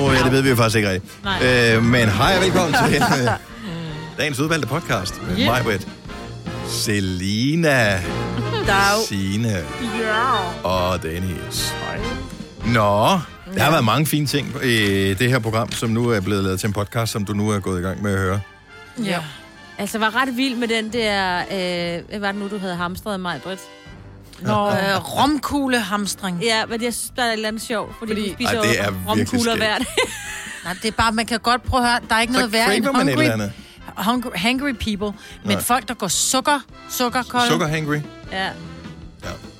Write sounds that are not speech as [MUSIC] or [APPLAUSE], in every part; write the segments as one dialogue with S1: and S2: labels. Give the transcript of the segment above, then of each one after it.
S1: God... Ja, det ved vi jo faktisk ikke rigtigt.
S2: Nej.
S1: Øh, men hej og velkommen
S3: [LAUGHS]
S1: til øh, dagens udvalgte podcast med
S2: Yeah.
S1: yeah. mig, Selina,
S3: Dag.
S1: Signe
S2: Ja.
S1: og Dennis. Nå, der har været mange fine ting i det her program, som nu er blevet lavet til en podcast, som du nu er gået i gang med at høre.
S3: Ja.
S2: Altså, jeg var ret vild med den der... Øh, hvad var det nu, du havde hamstret mig, Britt?
S3: Når øh, romkuglehamstring.
S2: Ja, men jeg synes, der er et eller andet sjovt, fordi,
S3: Fordi-
S2: fordi... vi spiser
S1: Ej, det
S2: jo
S1: er virkelig
S2: romkugler
S1: skægt.
S2: hver dag.
S3: [LAUGHS] Nej, det er bare, man kan godt prøve at høre, der er ikke
S1: Så
S3: noget værre end
S1: craver man et eller
S3: hungry,
S1: andet.
S3: hungry, hungry people. Men
S1: Nej.
S3: folk, der går sukker, sukkerkolde.
S1: Sugar hangry.
S2: ja.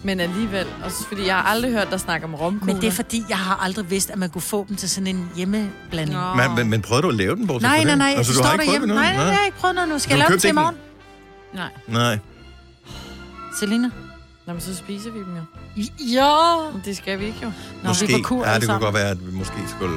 S4: Men alligevel, også fordi jeg har aldrig hørt dig snakke om romkugler.
S3: Men det er fordi, jeg har aldrig vidst, at man kunne få dem til sådan en hjemmeblanding.
S2: Nå.
S1: Men, men, men prøvede du at lave den, bortset
S3: Nej,
S1: fra
S3: nej,
S1: den?
S3: nej.
S1: Altså, du har ikke prøvet den
S3: Nej, nej, nej, jeg
S1: nej.
S3: har ikke prøvet noget nu. Skal
S1: Du
S3: jeg lave
S1: købte
S3: dem til i
S1: ikke
S3: morgen?
S4: Nej.
S1: Nej.
S3: Selina?
S4: Nå, men så spiser vi dem jo.
S3: Ja.
S4: Men det skal vi ikke jo.
S3: Nå,
S1: Måske.
S3: vi var kur
S1: ja,
S3: alle
S1: det kunne
S3: sammen.
S1: godt være, at vi måske skulle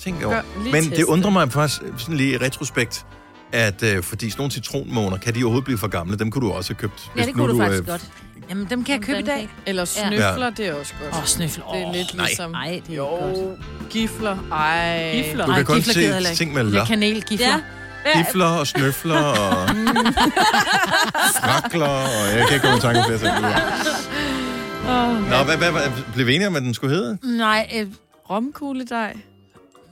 S1: tænke over.
S4: Gør- lige
S1: Men
S4: teste
S1: det
S4: det.
S1: undrer mig faktisk øh, sådan lige i retrospekt, at øh, fordi sådan nogle citronmåner, kan de overhovedet blive for gamle? Dem kunne du øh, også have købt.
S2: ja,
S1: hvis
S2: det
S1: nu
S2: kunne du faktisk godt.
S3: Jamen, dem kan jeg købe i dag.
S4: Eller snøfler, det er også godt.
S3: Åh, snøffel.
S4: Det er
S3: Åh.
S4: lidt
S1: nej.
S4: ligesom...
S2: Nej, det er
S4: jo,
S2: godt.
S4: gifler. Ej.
S2: Gifler.
S1: Du
S3: Ej,
S1: kan kun
S3: gifler gider jeg heller
S1: se
S3: ikke.
S1: ting med
S3: Det
S1: la.
S3: er kanelgifler.
S2: Ja. Ja,
S1: Gifler og snøfler
S2: [LAUGHS]
S1: og frakler, og jeg kan ikke komme i tanke om flere ting. Nå, hvad, hvad, hvad blev vi enige om, at den skulle hedde?
S3: Nej, øh,
S4: Romkugledej.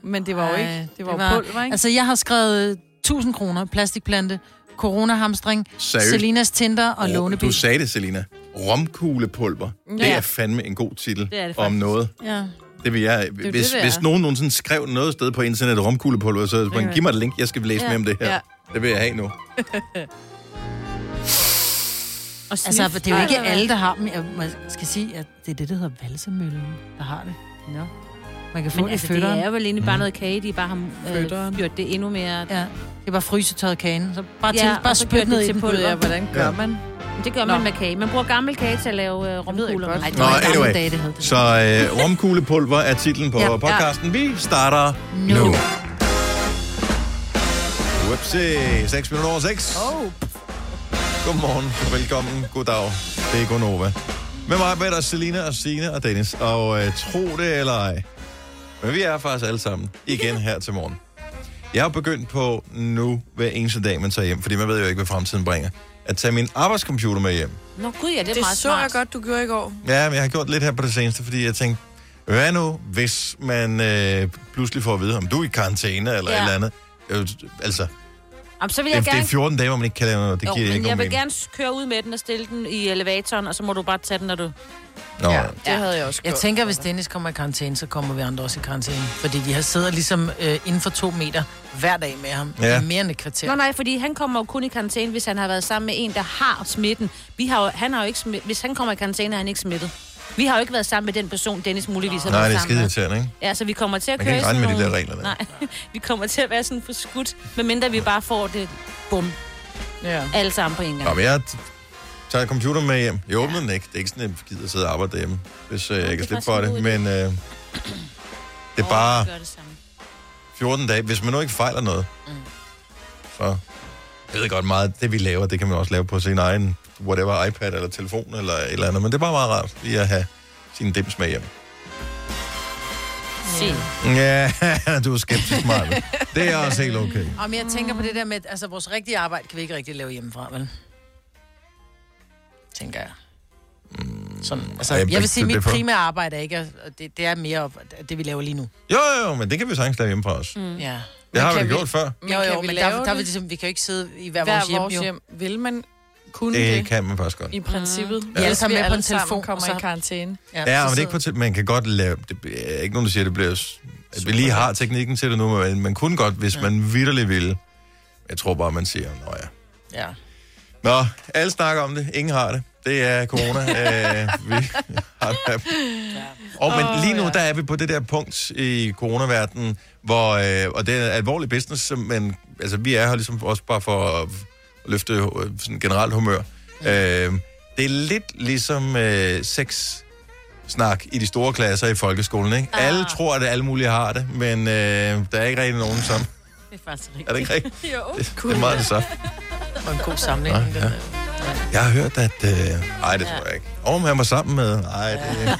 S4: Men det var jo
S3: Ej,
S4: ikke... Det var, det var pulver, ikke?
S3: Altså, jeg har skrevet øh, 1000 kroner, plastikplante, coronahamstring,
S1: Seriøst?
S3: Selinas Tinder og oh, Låneby.
S1: Du sagde det, Selina. Romkuglepulver. Ja. Det
S4: Ja.
S1: er fandme en god titel
S2: Mm, Det er det
S1: om
S2: faktisk.
S1: noget.
S3: Ja.
S1: Det vil jeg. Hvis, det,
S4: det,
S1: det
S4: det er.
S1: hvis nogen nogensinde skrev noget sted på internettet romkuglepulver, så man,
S4: være.
S1: giv mig et link, jeg skal læse ja.
S2: Ja.
S1: mere om det her. Ja.
S4: Ja.
S1: Det vil jeg have nu.
S2: og snif.
S3: Altså, det er jo ikke
S2: Ej,
S3: alle, der har dem. Jeg må- skal sige, at det er det, der hedder valsemøllen, der har det.
S2: Nå.
S3: Man kan få
S2: Men
S3: det i
S2: altså, det
S3: fødderen.
S2: er vel egentlig bare noget kage, de bare har
S4: Fødderen.
S2: øh, gjort det endnu mere.
S3: Ja. Det er bare frysetørret kagen. Så bare,
S2: Ja,
S3: til,
S2: og
S3: bare
S2: så
S3: spyt
S2: gør
S3: ned
S2: det
S3: i
S2: til
S3: den
S2: pulver.
S3: pulver.
S4: Ja, hvordan gør
S1: Ja.
S4: man?
S2: Men det gør
S4: Nå.
S2: man med kage. Man bruger gammel kage til at lave øh,
S4: ved jeg
S2: romkugler.
S4: godt.
S3: Ej, det
S1: Nå,
S3: var i gamle
S1: anyway.
S3: dage, det hed det.
S1: Så øh, romkuglepulver er titlen på
S3: Ja.
S1: ja.
S3: Ja.
S1: podcasten. Vi starter nu.
S3: Nu.
S1: nu. Whoopsie. 6 minutter over 6.
S3: Oh.
S1: Godmorgen, velkommen, goddag. Det er Gonova. Med mig med dig, Selina og Sine og Dennis. Og øh, tro det eller ej, men vi er faktisk alle sammen igen her til morgen. Jeg har begyndt på nu hver eneste dag, man tager hjem, fordi man ved jo ikke, hvad fremtiden bringer, at tage min arbejdscomputer med hjem.
S2: Nå gud, ja, det er
S4: Det
S2: meget
S4: så
S2: smart.
S4: jeg godt, du gjorde i går.
S1: Ja, men jeg har gjort lidt her på det seneste, fordi jeg tænkte, hvad nu, hvis man øh, pludselig får at vide, om du er i karantæne eller ja.
S2: Ja.
S1: et eller andet. Øh, altså,
S2: Jamen, så vil
S1: det,
S2: jeg
S1: det er
S2: gerne...
S1: 14 dage, hvor man ikke kan lave noget. Det
S2: Jo,
S1: giver ikke
S2: men jeg
S1: nogen
S2: vil
S1: mening.
S2: gerne s- køre ud med den og stille den i elevatoren, og så må du bare tage den, når du...
S1: Nå,
S4: Ja,
S1: ja.
S4: det havde jeg også
S3: Jeg
S4: gjort.
S3: tænker, hvis Dennis kommer i karantæne, så kommer vi andre også i karantæne. Fordi vi har siddet ligesom øh, inden for to meter hver dag med ham.
S1: Ja.
S3: Ja. Mere end et kvarter.
S2: Nå nej, fordi han kommer jo kun i karantæne, hvis han har været sammen med en, der har smitten. Vi har jo, han har jo ikke smittet. Hvis han kommer i karantæne, er han ikke smittet. Vi har jo ikke været sammen med den person, Dennis muligvis har
S1: Nej,
S2: været
S1: det er skide
S2: sammen med.
S1: irriterende, ikke?
S2: Ja, så vi kommer til at
S1: Man
S2: køre
S1: kan ikke
S2: i sådan
S1: regne med de
S2: nogle-
S1: der regler der.
S2: Nej, [LAUGHS] vi kommer til at være sådan for skudt, medmindre vi bare får det bum,
S4: Ja.
S2: alle sammen på en gang.
S1: Nå, men jeg t- tager computeren med hjem. Jeg åbner den ikke. Det er ikke sådan, at jeg gider sidde og arbejde derhjemme, hvis øh, jeg
S2: det
S1: kan
S2: er
S1: slippe
S2: faktisk
S1: for
S2: en
S1: det.
S2: god idé.
S1: Men øh, det er
S2: Åh,
S1: bare
S2: vi gør det samme.
S1: 14 dage. Hvis man nu ikke fejler noget, så jeg ved godt meget, det vi laver, det kan man også lave på sin egen whatever iPad eller telefon eller et eller andet. Men det er bare meget rart lige at have sin dims med hjem.
S2: Se.
S1: Ja, [LAUGHS] du er skeptisk, Marvin. Det er også helt okay.
S3: Om jeg tænker på det der med, at altså, vores rigtige arbejde kan vi ikke rigtig lave hjemmefra, vel? Tænker jeg. Sådan, altså,
S1: Ej,
S3: jeg
S1: men
S3: vil sige,
S1: Mm. det
S3: at
S1: er
S3: mit
S1: for-
S3: primære arbejde er ikke, at- at det, det er mere op, at det, vi laver
S4: Mm.
S3: lige nu.
S1: Jo, jo, jo, men det kan vi sagtens lave hjemme fra os.
S3: Mm. Ja.
S1: Det har
S4: kan
S1: vi da
S4: vi-
S1: gjort før.
S3: Jo, jo, men,
S4: vi
S3: men
S4: lave
S3: der, der, vi,
S4: det
S3: ligesom, vi kan jo ikke sidde i hver,
S4: hver
S3: vores hjem,
S4: vores
S3: jo.
S4: hjem? Vil man kunne
S1: Det
S4: det?
S1: kan man faktisk godt.
S4: I princippet.
S3: alle
S4: hvis
S3: sammen med på en
S4: sammen
S3: telefon,
S4: kommer
S3: og så-
S4: i karantæne.
S1: Ja,
S3: så
S1: men det er
S3: sidder-
S1: ikke på til, man kan godt lave, det er ikke nogen, der siger, at det bliver, s- at vi lige har teknikken til det nu, men man kunne godt, hvis ja. man vidderligt ville. Jeg tror bare, man siger, nå ja.
S3: Ja.
S1: Nå, alle snakker om det, ingen har det. Det er corona. Æh, vi har det. her. Og men lige nu, der er vi på det der punkt i coronaverdenen, hvor, øh, og det er alvorlig business, som- men altså, vi er her ligesom også bare for at løfte øh, sådan generelt humør. Øh, det er lidt ligesom øh, sex snak i de store klasser i folkeskolen, ikke? Ah. Alle tror, at alle mulige har det, men øh, der er ikke rigtig nogen, som...
S2: Det er faktisk rigtigt.
S1: Er det
S4: [LAUGHS]
S1: ikke rigtigt?
S2: Jo.
S1: Det, det er meget det samme.
S3: Og en god sammenligning.
S1: Ja, ja.
S3: Ja,
S1: [LAUGHS] Jeg har hørt, at... Øh, ej, det tror jeg ikke. Og om han var sammen med... Ej, det...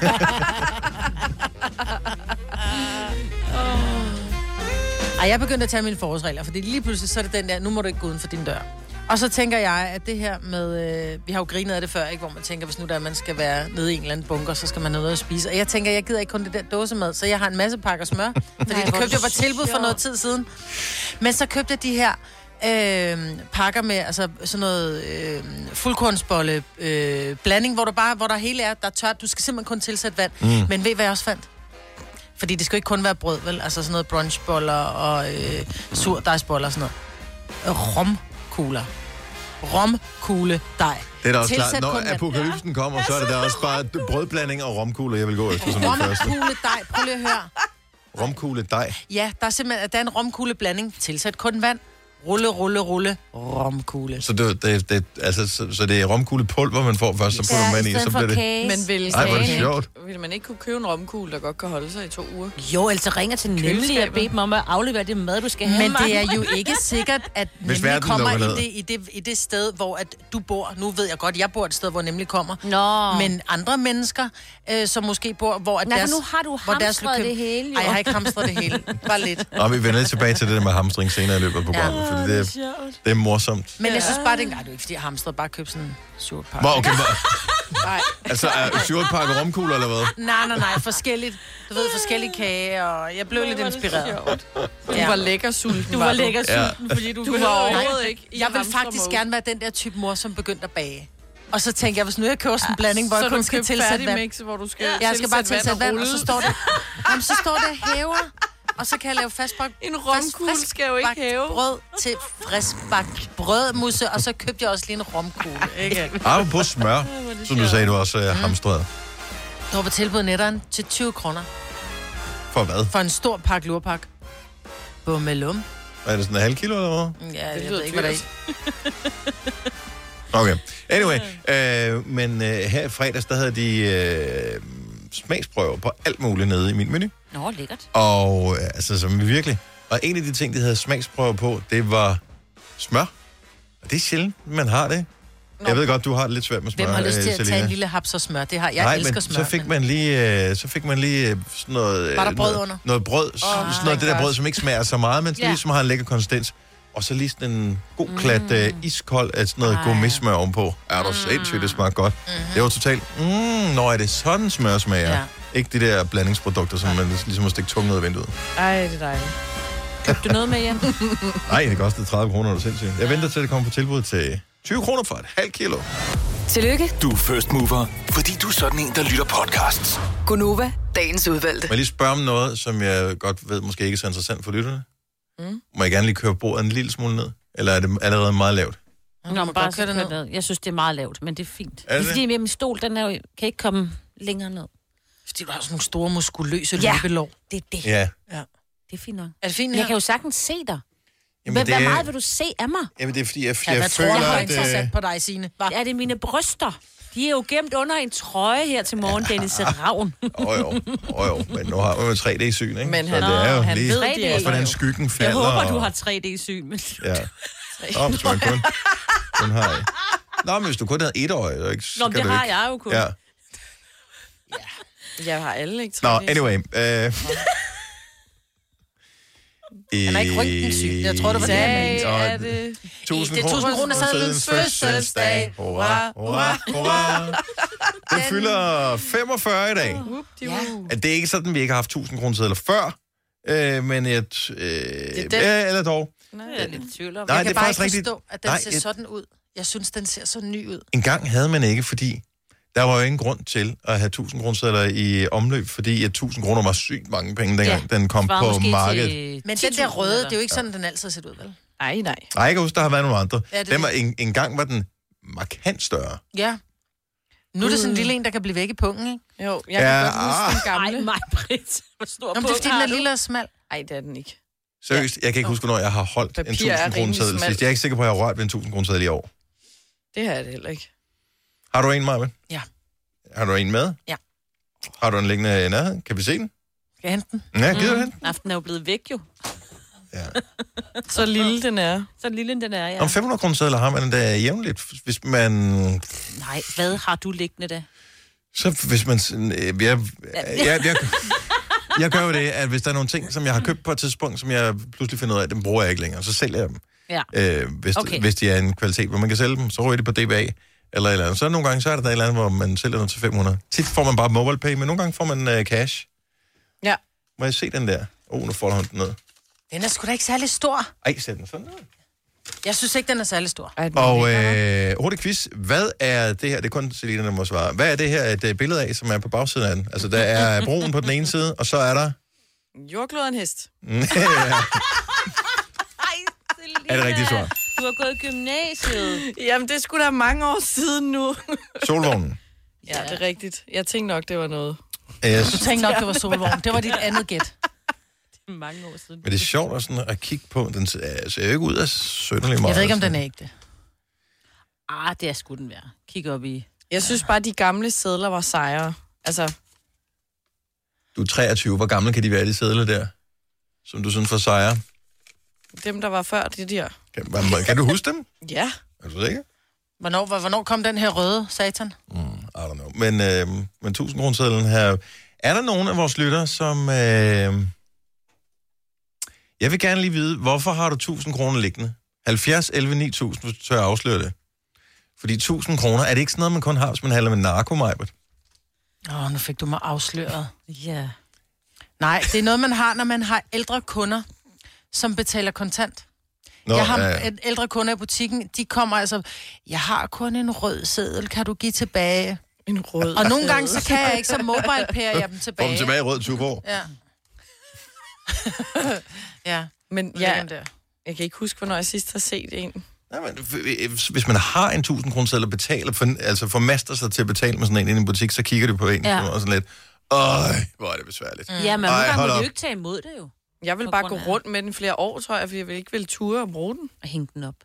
S3: Ej, jeg begyndte at tage mine forholdsregler, fordi lige pludselig så er det den der, nu må du ikke gå uden for din dør. Og så tænker jeg, at det her med, øh, vi har jo grinet af det før, ikke? hvor man tænker, hvis nu der er, man skal være nede i en eller anden bunker, så skal man ned og spise. Og jeg tænker, jeg gider ikke kun det der dåsemad, så jeg har en masse pakker smør,
S2: [LAUGHS]
S3: fordi
S2: Nej,
S3: det
S2: hvor
S3: købte jeg på tilbud for
S2: sjovt.
S3: noget tid siden. Men så købte jeg de her øh, pakker med altså sådan noget øh, fuldkornsbolle øh, blanding, hvor der bare hvor der hele er, der er tørt. Du skal simpelthen kun tilsætte vand. Mm. Men ved I, hvad jeg også fandt? Fordi det skal jo ikke kun være brød, vel? Altså sådan noget brunchboller og øh, surdejsboller og sådan noget. Øh, Romkugler. Romkugle dej.
S1: Det er da også klart.
S3: Tilsæt kun
S1: Når
S3: vand.
S1: apokalypsen kommer, så er det da også bare brødblanding og romkugler, jeg vil gå efter som det første.
S3: Romkugle dej. Prøv lige at høre.
S1: Romkugle dej.
S3: Ja, der er simpelthen der er en romkugle blanding. Tilsæt kun vand. Rulle, rulle, rulle. Romkugle.
S1: Så det, det, det, altså, så, så det er romkuglepulver, man får først, så putter man
S2: Ja,
S1: vand
S2: i
S1: i, så
S2: stedet for
S1: bliver det...
S2: kage.
S4: Men vil,
S1: Ej, hvor er det
S4: man ikke-
S1: sjovt.
S4: vil man ikke kunne købe en romkugle, der godt kan holde sig i to uger?
S2: Jo, altså ringer til nemlig og
S4: Køleskabet.
S2: beder dem om at aflevere det mad, du skal have.
S3: Men det er jo ikke sikkert,
S1: [LAUGHS]
S3: at nemlig
S1: verden
S3: kommer i
S1: lukker ned.
S3: det, i, det, i det sted, hvor at du bor. Nu ved jeg godt, jeg bor et sted, hvor nemlig kommer.
S2: Nå.
S3: Men andre mennesker, øh, som måske bor, hvor at
S2: Nej, for
S3: deres...
S2: nu har du
S3: hvor deres
S2: hamstret
S3: lokal-
S2: det hele, jo.
S3: Ej, jeg har ikke hamstret det hele. Bare lidt.
S1: Nå, vi vender lidt tilbage til det der med hamstring senere i løbet af programmet, ja, fordi det, er, det er morsomt.
S3: Men jeg synes bare, det, nej, det er jo ikke, fordi jeg hamstrede. Bare køb sådan en surt pakke.
S1: Hvor, okay, hvor,
S3: Nej.
S1: altså, er sjortpakke romkugler eller hvad?
S3: nej, nej, nej. Forskelligt. Du ved, forskellige kage, og jeg blev lidt inspireret.
S4: Du
S3: Ja.
S4: var lækker sulten.
S2: du var lækker sulten, ja. fordi du,
S4: Du
S2: behøver
S4: var
S2: ikke-
S4: overhovedet ikke i
S3: Jeg vil
S4: hamstermode.
S3: faktisk gerne være den der type mor, som begyndte at bage. Og så tænker jeg, hvis nu jeg køber sådan en blanding, hvor
S4: så
S3: jeg
S4: du
S3: kun skal
S4: købe
S3: tilsætte
S4: færdig
S3: vand.
S4: mix, hvor du skal
S3: Ja, jeg skal bare tilsætte vand, og så står det, jamen, så står det hæver, og så kan jeg lave fastbagt...
S4: En romkugle
S3: fast-
S4: skal jo ikke
S3: friskbagt
S4: hæve.
S3: brød til friskbagt brødmusse, og så købte jeg også lige en
S4: [LAUGHS]
S3: romkugle, ikke?
S1: Arve på smør, som du sagde, du også øh, hamstrede.
S3: Der var på tilbud netteren til 20 kroner
S1: For hvad?
S3: for en stor pakke lurpak. Bummelum.
S1: Er det sådan en halv kilo eller hvad?
S3: Ja, jeg
S4: lyder
S3: ved ikke, hvad det er.
S1: Okay. Anyway, øh, men øh, her i fredags, der havde de øh, smagsprøver på alt muligt nede i min menu.
S2: Nå, lækkert.
S1: Og øh, altså, som virkelig. Og en af de ting, de havde smagsprøver på, det var smør. Og det er sjældent, man har det. Nå. Jeg ved godt, du har det lidt svært med smør,
S3: Hvem har lyst til
S1: øh,
S3: at tage
S1: Selina.
S3: en lille haps og smør? Det har jeg.
S1: Nej,
S3: elsker
S1: men
S3: smør.
S1: så fik man lige, øh, så fik man lige øh, sådan noget... øh,
S3: Var der brød
S1: noget,
S3: under?
S1: Noget brød, oh, sådan noget, det der brød, som ikke smager så meget, men
S2: Ja.
S1: ja. lige som har en lækker konsistens. Og så lige sådan en god
S3: Mm.
S1: klat øh, iskold af sådan noget
S2: Ej.
S1: gourmet-smør ovenpå. Er du sindssygt, det smager godt. Mm-hmm. Det var totalt, mm, når er det sådan smør smager.
S3: Ja.
S1: Ja. Ikke de der blandingsprodukter, som man ligesom må stikke tungen ud af vinduet.
S4: Ej, det er dejligt.
S2: Købte du noget med hjem?
S1: Nej, det kostede 30 kroner, er du sindssygt. Jeg venter til, det kommer på tilbud til 20 kroner for et halvt kilo.
S5: Tillykke,
S6: Du er first mover, fordi du er sådan en, der lytter podcasts.
S5: Gunova, dagens udvalgte.
S1: Må jeg lige spørge om noget, som jeg godt ved måske ikke er så interessant for lytterne? Mm. Må jeg gerne lige køre bordet en lille smule ned? Eller er det allerede meget lavt?
S2: Nå, men bare
S3: godt køre det
S2: så ned. Jeg synes, det er meget lavt, men det er fint.
S1: Er det
S2: det er fordi, min stol, den er jo, kan ikke komme længere ned.
S3: Fordi du har sådan nogle store, muskuløse
S2: Ja.
S3: ja. løbelov.
S2: Det er det.
S1: Ja.
S2: Det er fint nok.
S3: Er det fint
S2: Men
S3: her?
S2: jeg kan jo sagtens se dig.
S1: Jamen,
S2: Hvor
S1: det
S2: hvor meget
S1: er,
S2: vil du se af mig?
S1: jamen, det er fordi, jeg,
S3: Ja,
S1: jeg
S3: hvad tror
S1: føler,
S3: du, jeg har
S1: at...
S3: interessant
S1: Øh,
S3: på dig, Signe? Hva?
S2: Er det mine bryster? De er jo gemt under en trøje her til morgen, Dennis Ravn.
S1: [LAUGHS] åh jo, åh jo, men nu har man jo 3D-syn, ikke?
S4: Men han-
S1: så det er jo
S4: han
S1: lige,
S4: ved
S2: det
S1: også,
S2: ikke,
S1: hvordan
S4: jo.
S1: skyggen falder.
S2: Jeg håber, du
S1: og-
S2: har 3D-syn. men-
S1: Ja. Nå, hvis man kun, kun har... et. Nå, men hvis du kun havde et øje, ikke, så
S2: Nå, men
S1: kan
S2: det
S1: du
S2: har
S1: ikke.
S2: jeg jo kun.
S1: Ja.
S4: [LAUGHS] Jeg har alle ikke
S1: Nå,
S4: trænet.
S1: anyway. Øh... Han
S3: er ikke røntgensyg. Jeg tror, det var det, han
S4: Dag er det...
S1: Tusind
S3: Det er 1000 kroner sedlens
S4: fødselsdag.
S1: Hurra, hurra, hurra. Den fylder 45 i dag.
S4: Whoop, de
S3: Ja.
S4: woo.
S1: At Det er ikke sådan, vi ikke har haft 1000 kroner sedler før. Øh, men et... Øh,
S4: er den.
S1: ja, eller dog.
S4: Nej, jeg er lidt i tvivl om.
S1: Nej,
S3: jeg
S1: det er
S3: kan bare
S1: faktisk
S3: ikke
S1: rigtigt.
S3: forstå, at den
S1: Nej,
S3: ser
S1: et-
S3: sådan ud. Jeg synes, den ser så ny ud.
S1: En gang havde man ikke, fordi der var jo ingen grund til at have 1000 kroner sedler i omløb, fordi at 1000 kroner var sygt mange penge, dengang ja, den kom
S2: Svarer
S1: på
S2: måske til
S1: markedet.
S2: 10.000
S3: Men den der røde,
S2: eller-
S3: det er jo ikke sådan, den altid har set ud, vel?
S4: Nej, nej.
S1: Nej, jeg kan huske, der har været nogle andre.
S3: Ja,
S1: Ja,
S3: det er
S1: den var, en, en gang var den markant større.
S3: Ja. Nu er det sådan en lille en, der kan blive væk i pungen, ikke?
S4: Mm. Jo, jeg kan
S1: Ja, ah.
S4: godt huske den
S2: Ej,
S4: gamle.
S2: mig, Britt. Hvor stor
S3: Nå, men det er fordi, den er lille og smal.
S4: Nej, det er den ikke.
S1: Seriøst, jeg kan ikke huske, hvornår jeg har holdt en
S4: Papir er
S1: 1000 kroner
S4: rimelig
S1: seddel
S4: smalt.
S1: sidst. Jeg er ikke sikker på, at jeg har rørt ved en 1000 kroner seddel i år.
S4: Det har jeg det heller ikke.
S1: Har du en, Marvin?
S3: Ja.
S1: Har du en med?
S3: Ja.
S1: Har du en liggende i nærheden? Kan vi se den?
S3: Skal jeg hente den?
S1: Ja,
S4: Mm.
S1: gider du den?
S2: Aftenen er jo blevet væk jo.
S1: Ja.
S4: [LAUGHS] Så lille den er.
S2: Så lille den er, ja.
S1: Om 500 kroner sædler har man da jævnligt, hvis man...
S2: Nej, hvad har du liggende da?
S1: Så hvis man... sådan, øh, Jeg, jeg, jeg, jeg, jeg gør jo det, at hvis der er nogle ting, som jeg har købt på et tidspunkt, som jeg pludselig finder ud af, dem bruger jeg ikke længere, så sælger jeg dem.
S2: Ja.
S1: Øh, hvis, okay.
S2: Okay.
S1: hvis de er en kvalitet, hvor man kan sælge dem, så ryger de på DBA eller et eller andet. Så er der nogle gange, så er der et eller andet, hvor man sælger noget til 500. Tit får man bare mobile pay, men nogle gange får man øh, cash.
S4: Ja.
S1: Må jeg se den der? Åh, oh, nu folder hun den ned.
S3: Den er sgu da ikke særlig stor.
S1: Ej, sæt den sådan ned.
S3: Jeg synes ikke, den er særlig stor.
S4: Ej, den er
S1: Og
S4: lækker,
S1: øh, hurtig quiz. Hvad er det her? Det er kun Selina, der må svare. Hvad er det her et øh, billede af, som er på bagsiden af den? Altså, der er broen på den ene side, og så er
S4: [LAUGHS]
S1: der...
S4: hva'? Jordkloderen hest.
S1: Er det rigtigt svar?
S2: Du har gået i gymnasiet.
S4: [LAUGHS] Jamen, det skulle da mange år
S3: [LAUGHS]
S4: siden nu.
S1: Solvognen.
S4: ja, det er rigtigt. Jeg tænkte nok, det var noget.
S3: Du
S1: Yes.
S3: tænkte nok, det var solvogn. Det var dit andet
S4: [LAUGHS]
S3: gæt.
S2: Mange år siden.
S1: Men det er sjovt at, sådan, at kigge på. Den ser øh, ser jo ikke ud af sønderlig meget.
S3: Jeg ved ikke, om den er ægte.
S2: Ah, det er sgu den værd. Kig op i.
S4: Jeg synes bare, de gamle sædler var sejere. Altså,
S1: Du er 23. Hvor gamle kan de være, de sædler der? Som du synes for sejre.
S4: dem, der var før, de der.
S1: Kan, hva- kan du huske dem?
S4: Ja.
S1: Er du sikker?
S3: Hvornår, hvor- hvornår kom den her røde satan?
S1: I don't know. Men, øh, men 1000 kroner sædlen her. Er der nogen af vores lytter, som... Øh, jeg vil gerne lige vide, hvorfor har du 1000 kroner liggende? 70, 11, 9000, hvis du tør afsløre det. Fordi 1000 kroner, er det ikke sådan noget, man kun har, hvis man handler med narko, Majbert?
S3: Åh, oh, nu fik du mig afsløret.
S2: Ja.
S3: Nej, det er noget, man har, når man har ældre kunder, som betaler kontant. Nå, jeg har
S1: øh,
S3: øh... ældre kunder i butikken, de kommer altså, jeg har kun en rød seddel, kan du give tilbage?
S4: En rød.
S3: Og nogle gange, så kan jeg ikke, så mobile pærer jeg dem
S1: Få
S3: tilbage.
S1: dem tilbage i rød tuborg.
S4: [LAUGHS]
S3: Ja. ja,
S4: Men
S3: ja.
S4: ja,
S3: Den der.
S4: jeg kan ikke huske, hvornår jeg sidst har set en.
S1: Nej, men øh, hvis- hvis man har en 1000 kroner sædel og betaler, for, altså formaster sig til at betale med sådan en inde i en butik, så kigger du på en
S2: Ja.
S1: ja. og sådan lidt, øj, hvor er det besværligt. Mm.
S2: Ja, men
S1: Ej,
S2: nogle gange
S1: hold
S2: må
S1: op.
S2: du ikke tage imod det jo.
S4: Jeg vil
S2: På
S4: bare gå
S2: grund af-
S4: rundt med den flere år, tror jeg, fordi jeg vil ikke ville ture og bruge den.
S2: Og hænge den op.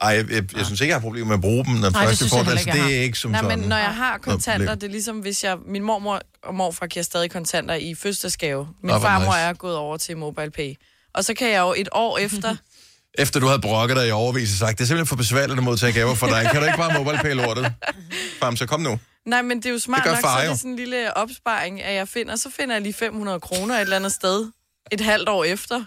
S1: Ej, jeg, jeg, jeg synes ikke, jeg har problemer med at bruge dem, når
S3: det
S1: først jeg
S3: synes
S1: får
S3: jeg
S1: det.
S3: heller
S1: Altså,
S3: ikke, jeg
S1: det er ikke som
S4: Nej,
S1: sådan.
S4: men når jeg har kontanter,
S1: problem.
S4: det er ligesom, hvis jeg... Min mormor og morfar giver stadig kontanter i fødselsdagsgave. Min
S1: Nå, hvor
S4: farmor
S1: nice.
S4: er gået over til MobilePay. Og så kan jeg jo et år
S2: [LAUGHS]
S4: efter...
S1: Efter du havde brokket dig i overvis og sagt, det er simpelthen for besværligt at modtage gaver for dig. Kan du ikke bare mobile lortet? Fam, så kom nu.
S4: Nej, men det er jo smart
S1: Det gør
S4: nok,
S1: far
S4: så er
S1: jo.
S4: det sådan en lille opsparing, at jeg finder. Så finder jeg lige 500 kroner et eller andet sted et halvt år efter.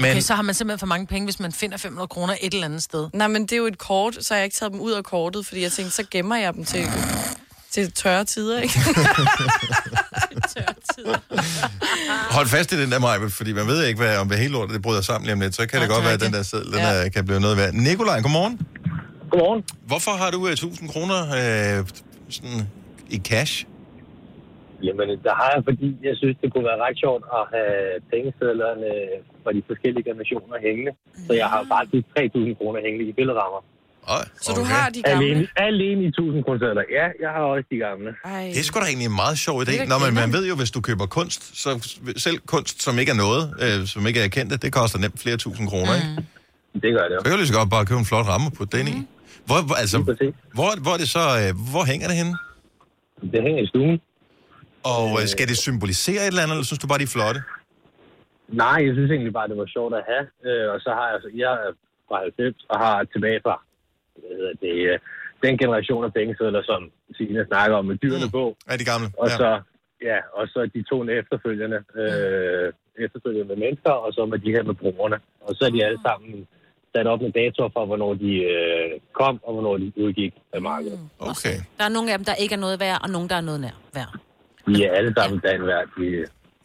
S1: Men
S3: Okay, så har man simpelthen for mange penge, hvis man finder 500 kroner et eller andet sted.
S4: Nej, men det er jo et kort, så har jeg ikke taget dem ud af kortet, fordi jeg tænkte, så gemmer jeg dem til, til tørre tider,
S3: [LAUGHS]
S4: ikke?
S1: hold fast i den der mig, fordi man ved ikke, hvad, om hvad hele lortet det bryder sammen lige om lidt. Så kan det godt være, at den der sædel den
S4: Ja.
S1: der, kan blive noget værd. Nikolaj, godmorgen.
S7: Godmorgen.
S1: Hvorfor har du uh, 1000 kroner uh, sådan, i cash?
S7: Jamen, der har jeg, fordi jeg synes, det kunne være ret sjovt at have pengesedlerne fra de forskellige generationer hængende. Så jeg har faktisk 3.000 kroner hængende i billedrammer.
S1: Oh,
S4: Så du har de
S7: Alene,
S4: gamle.
S7: alene i 1.000 kroner sedler. Ja, jeg har også de gamle.
S4: Ej.
S1: Det er sgu da egentlig en meget sjov
S4: Det er
S1: idé.
S4: da
S1: Nå, men man
S4: grineren.
S1: ved jo, hvis du køber kunst, så selv kunst, som ikke er noget, øh, som ikke er kendt, det koster nemt flere tusind kroner, mm. ikke?
S7: Det gør det jo.
S1: Så kan du lige så godt bare købe en flot ramme og putte den i.
S4: Mm.
S1: Hvor, hvor, altså,
S7: Lige præcis.
S1: hvor, hvor, er det så, øh, hvor hænger det henne?
S7: Det hænger i stuen.
S1: Og øh, skal det symbolisere et eller andet, eller synes du bare, de er flotte?
S7: Nej, jeg synes egentlig bare, det var sjovt at have. Øh, og så har jeg, jeg er fra 90 og har tilbage fra hvad hedder det, øh, den generation af pengesedler, som Signe snakker om med dyrene på.
S1: Ja, de gamle.
S7: Og
S1: Ja.
S7: så, ja, og så de to efterfølgende, øh, efterfølgende med mennesker, og så med de her med brugerne. Og så er de alle sammen sat op med datoer for, hvornår de øh, kom, og hvornår de udgik af markedet.
S1: Okay.
S2: Der er nogle af dem, der ikke er noget værd, og nogle, der er noget nær værd.
S7: De er alle sammen danværk. De,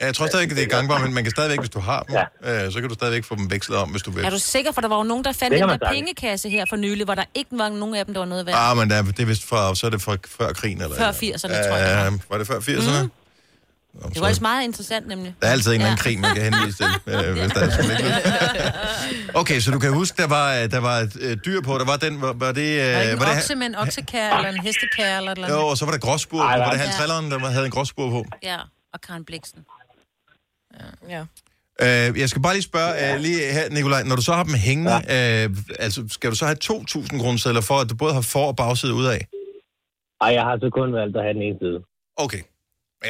S1: Ja, jeg tror stadig ikke, det er gangbart, men man kan stadigvæk, hvis du har dem, øh, så kan du stadigvæk få dem vekslet om, hvis du vil.
S2: Er du sikker? For der var jo nogen, der fandt
S7: Det kan
S2: den
S7: man
S2: der
S7: sagtens.
S2: pengekasse her for nylig, hvor der ikke var nogen af dem, der var noget værd.
S1: Ah, men der, det er vist fra, så er det fra før krigen, eller?
S2: Før 80'erne,
S1: ja,
S2: tror jeg, det
S1: Ja, var det før 80'erne? Mm.
S2: Det var altså meget interessant, nemlig.
S1: Der er altid en eller anden
S2: Ja.
S1: krig, man kan henvise til, øh, hvis der er sådan lidt. Okay, så du kan huske, der var, øh, der var et øh, dyr på, der var den, var, var det... Øh,
S3: Er det ikke
S1: var
S3: en
S1: det
S3: okse med en oksekær, eller en hestekær, eller et eller andet?
S1: jo, og så var der gråsbur på,
S7: Ej,
S1: var
S7: nej.
S1: det han trilleren, der var- havde en gråsbur på?
S2: [LAUGHS] Ja, og Karen Bliksen.
S4: Ja.
S1: Øh, jeg skal bare lige spørge øh, lige her, Nikolaj, når du så har dem hængende, øh, altså skal du så have 2.000 kroner for, at du både har for- og bagside ud af?
S7: ej, jeg har så kun valgt at have den ene side.
S1: Okay. Jeg kan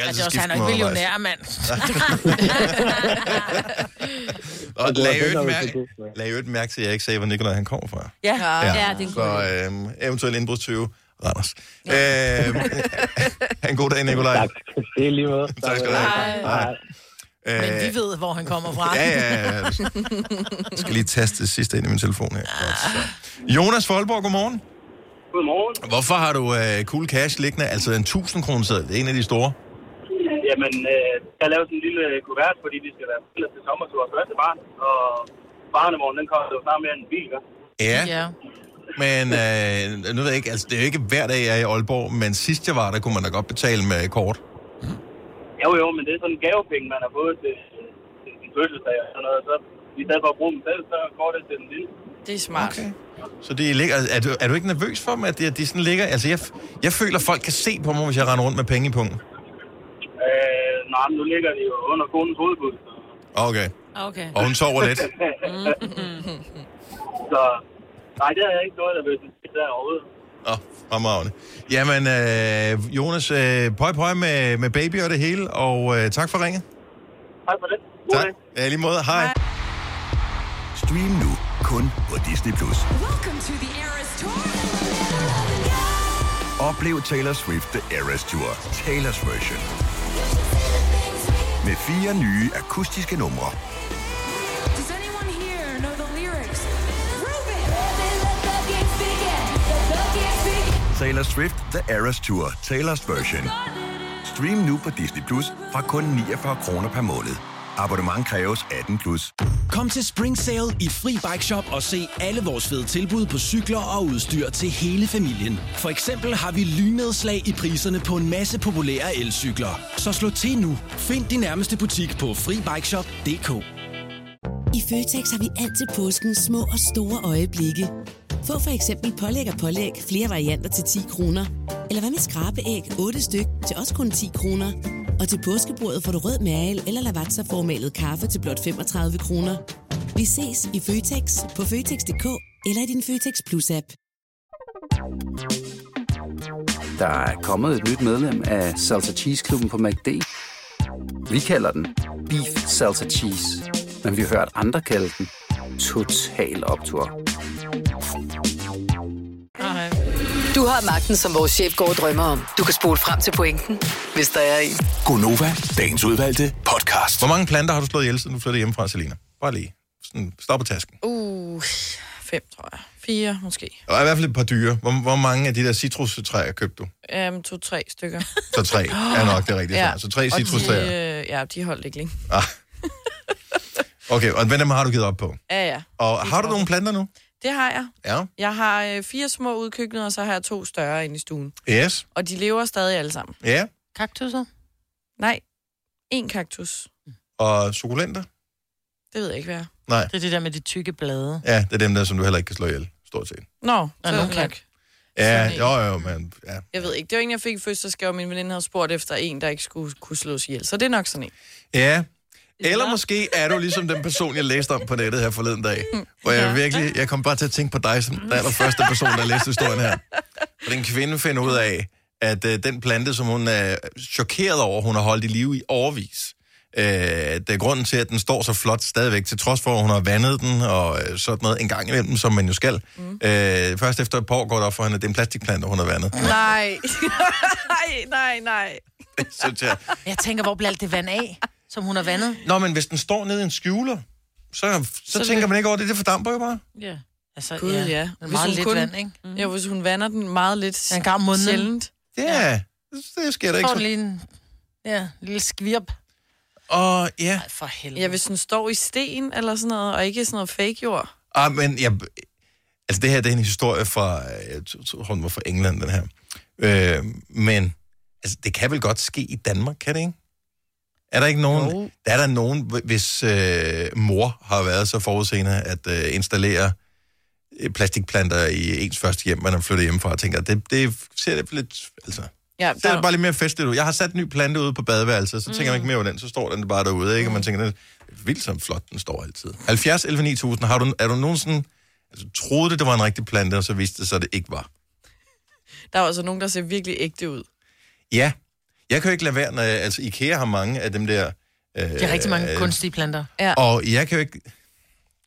S3: Ja, det er
S1: altid
S3: Altså, også,
S1: skifte
S3: han er
S1: dem
S3: ikke
S1: undervejs.
S3: millionær, mand.
S1: [LAUGHS]
S3: [LAUGHS]
S1: Og
S7: Det var
S1: lag jo ikke
S7: bedre,
S1: mærke,
S7: hvis det kunne.
S1: lag jo ikke mærke til, at jeg ikke sagde, hvor Nikolaj han kommer fra.
S2: Ja,
S1: Ja.
S2: ja det er en
S1: Så
S2: god idé.
S1: øh, eventuelt indbrudstyve. Randers.
S3: [LAUGHS]
S1: Øh, ha' en god dag, Nikolaj.
S7: Tak. Det er lige måde.
S1: Tak skal du have.
S7: Hej.
S1: Øh,
S3: Men vi ved, hvor han kommer fra.
S1: Ja, ja, ja. Jeg
S3: [LAUGHS]
S1: skal lige taste det sidste ind i min telefon her. Godt,
S3: Ah.
S1: så. Jonas Folborg, godmorgen.
S7: Godmorgen.
S1: Hvorfor har du øh, cool cash liggende? Altså en 1000 kroner seddel, det er en af de store.
S7: Jamen, øh, der laves en lille kuvert, fordi vi skal være fælles til sommer til vores første barn. Og barnevognen, den kommer jo snart mere end en bil, gør.
S1: Ja,
S3: ja.
S1: men øh, nu ved jeg ikke, altså det er jo ikke hver dag, jeg er i Aalborg, men sidst jeg var der, kunne man da godt betale med kort.
S7: Jo, jo, men det er sådan en gavepenge, man har fået til, til sin fødselsdag og sådan noget. Så i stedet for at bruge dem selv, så går det til den lille.
S4: Det er smart. Okay.
S1: Så det ligger, altså, er, du, er du ikke nervøs for dem, at de, at de sådan ligger? Altså jeg, f- jeg føler, folk kan se på mig, hvis jeg render rundt med penge i pungen.
S7: Øh, nej, men nu ligger de jo under konens hovedbud. Så,
S1: Okay,
S2: Okay.
S1: og hun sover
S7: [LAUGHS]
S1: lidt.
S4: Mm.
S7: så nej, det er ikke noget, der vil sige der overhovedet.
S1: Åh, fremragende. Jamen, øh, Jonas, øh, pøj pøj med, med baby og det hele, og øh, tak for ringet.
S7: Tak for det. God dag.
S1: Ja, i lige måde. Hej. Hej.
S6: Stream nu kun på Disney+. Plus. Oplev Taylor Swift The Eras Tour, Taylor's version. Med fire nye akustiske numre. Taylor Swift The Eras Tour, Taylor's version. Stream nu på Disney Plus fra kun 49 kroner per måned. Abonnement kræves 18 plus.
S8: Kom til Spring Sale i Fri Bike Shop og se alle vores fede tilbud på cykler og udstyr til hele familien. For eksempel har vi lynedslag i priserne på en masse populære elcykler. Så slå til nu. Find din nærmeste butik på FriBikeShop.dk.
S9: I Føtex har vi altid påsken små og store øjeblikke. Få for eksempel pålæg og pålæg flere varianter til 10 kroner. Eller hvad med skrabeæg 8 styk til også kun 10 kroner. Og til påskebordet får du rød mal eller lavatserformalet kaffe til blot 35 kroner. Vi ses i Føtex på Føtex.dk eller i din Føtex Plus-app.
S10: Der er kommet et nyt medlem af Salsa Cheese Klubben på MACD. Vi kalder den Beef Salsa Cheese, men vi har hørt andre kalde den Total Optor.
S5: Du har magten, som vores chef går og drømmer om. Du kan spole frem til pointen, hvis der er en.
S6: Gonova, dagens udvalgte podcast.
S1: Hvor mange planter har du slået ihjel, siden du flyttede hjemmefra, Selina? Bare lige. Sådan, stop på tasken.
S4: Uh, fem, tror jeg. Fire, måske.
S1: Der er i hvert fald et par dyre. Hvor, hvor mange af de der citrustræer købte du?
S4: Um, To-tre stykker.
S1: Så tre er nok det rigtige svar. Så tre
S4: Og de,
S1: citrustræer.
S4: øh, ja, de holdt ikke længe.
S1: Ah. Okay, og hvad dem har du givet op på?
S4: Ja, ja.
S1: Og har du nogle planter nu?
S4: Det har jeg.
S1: Ja.
S4: Jeg har øh, fire små udkøkkener, og så har jeg to større inde i stuen.
S1: Yes.
S4: Og de lever stadig alle sammen.
S1: Ja.
S3: Kaktusser?
S4: Nej, en kaktus.
S1: Og sukulenter?
S4: Det ved jeg ikke, hvad jeg er.
S1: Nej.
S3: Det er det der med de tykke blade.
S1: Ja, det er dem der, som du heller ikke kan slå ihjel, stort set.
S4: Nå,
S3: Ja,
S4: så er
S3: nogen
S4: det
S3: kan.
S4: nok.
S1: Ja,
S4: Sådan en.
S1: jo, jo, men ja.
S4: Jeg ved ikke. Det var en, jeg fik i fødselsdagsgave, og min veninde havde spurgt efter en, der ikke skulle kunne slås ihjel. Så det er nok sådan en.
S1: Ja. Eller måske er du ligesom den person, jeg læste om på nettet her forleden dag. Hvor jeg virkelig, jeg kom bare til at tænke på dig som den allerførste person, der læste historien her. Og den kvinde finder ud af, at øh, den plante, som hun er chokeret over, hun har holdt i live i årvis, øh, det er grunden til, at den står så flot stadigvæk, til trods for, at hun har vandet den og øh, sådan noget en gang imellem, som man jo skal. Mm. Øh, først efter et par år går det op for hende, at det er en plastikplante, hun har [LAUGHS] vandet.
S4: Nej. nej, nej, nej.
S1: Så jeg,
S3: Jeg tænker, hvor bliver alt det vand af, som hun har vandet?
S1: Nå, men hvis den står nede i en skjuler, så, så, så tænker man ikke over det, det fordamper jo bare.
S2: Ja.
S3: Altså,
S4: Gud, ja.
S3: ja.
S4: Hvis
S3: Meget
S4: hun
S3: lidt
S4: kun-
S3: vand, ikke? Mhm.
S4: Mm. Ja, hvis hun vander den meget lidt
S3: En gang om måneden.
S4: sjældent.
S1: Ja, yeah. det sker der ikke.
S3: Får den
S1: så-
S3: lige en, ja, en lille skvirp.
S1: Og ja,
S3: Ej, for helvede.
S4: Ja, hvis den står i sten eller sådan noget, og ikke sådan noget fake jord.
S1: ah, men jeg, altså det her det er en historie fra, øh, jeg tror, hun var fra England, den her. Øh, men altså, det kan vel godt ske i Danmark, kan det ikke? Er der ikke nogen,
S4: Jo.
S1: der er der nogen, hv- hvis øh, mor har været så forudseende at øh, installere øh, plastikplanter i ens første hjem, man er flyttet hjemmefra, og tænker, det, det ser det lidt, altså,
S4: Ja,
S1: Så er det bare lidt mere festligt ud. Jeg har sat en ny plante ude på badeværelset, så tænker man ikke mere over den, så står den bare derude, ikke? Og man tænker, den er vildt som flot, den står altid. 70, 11, 9000, har du, er du nogensinde, altså troede det, det var en rigtig plante, og så viste det sig, at det ikke var?
S4: Der er altså nogen, der ser virkelig ægte ud.
S1: Ja. Jeg kan jo ikke lade være, når, jeg- altså Ikea har mange af dem der, øh,
S3: De har rigtig mange kunstige planter.
S1: og jeg kan jo ikke,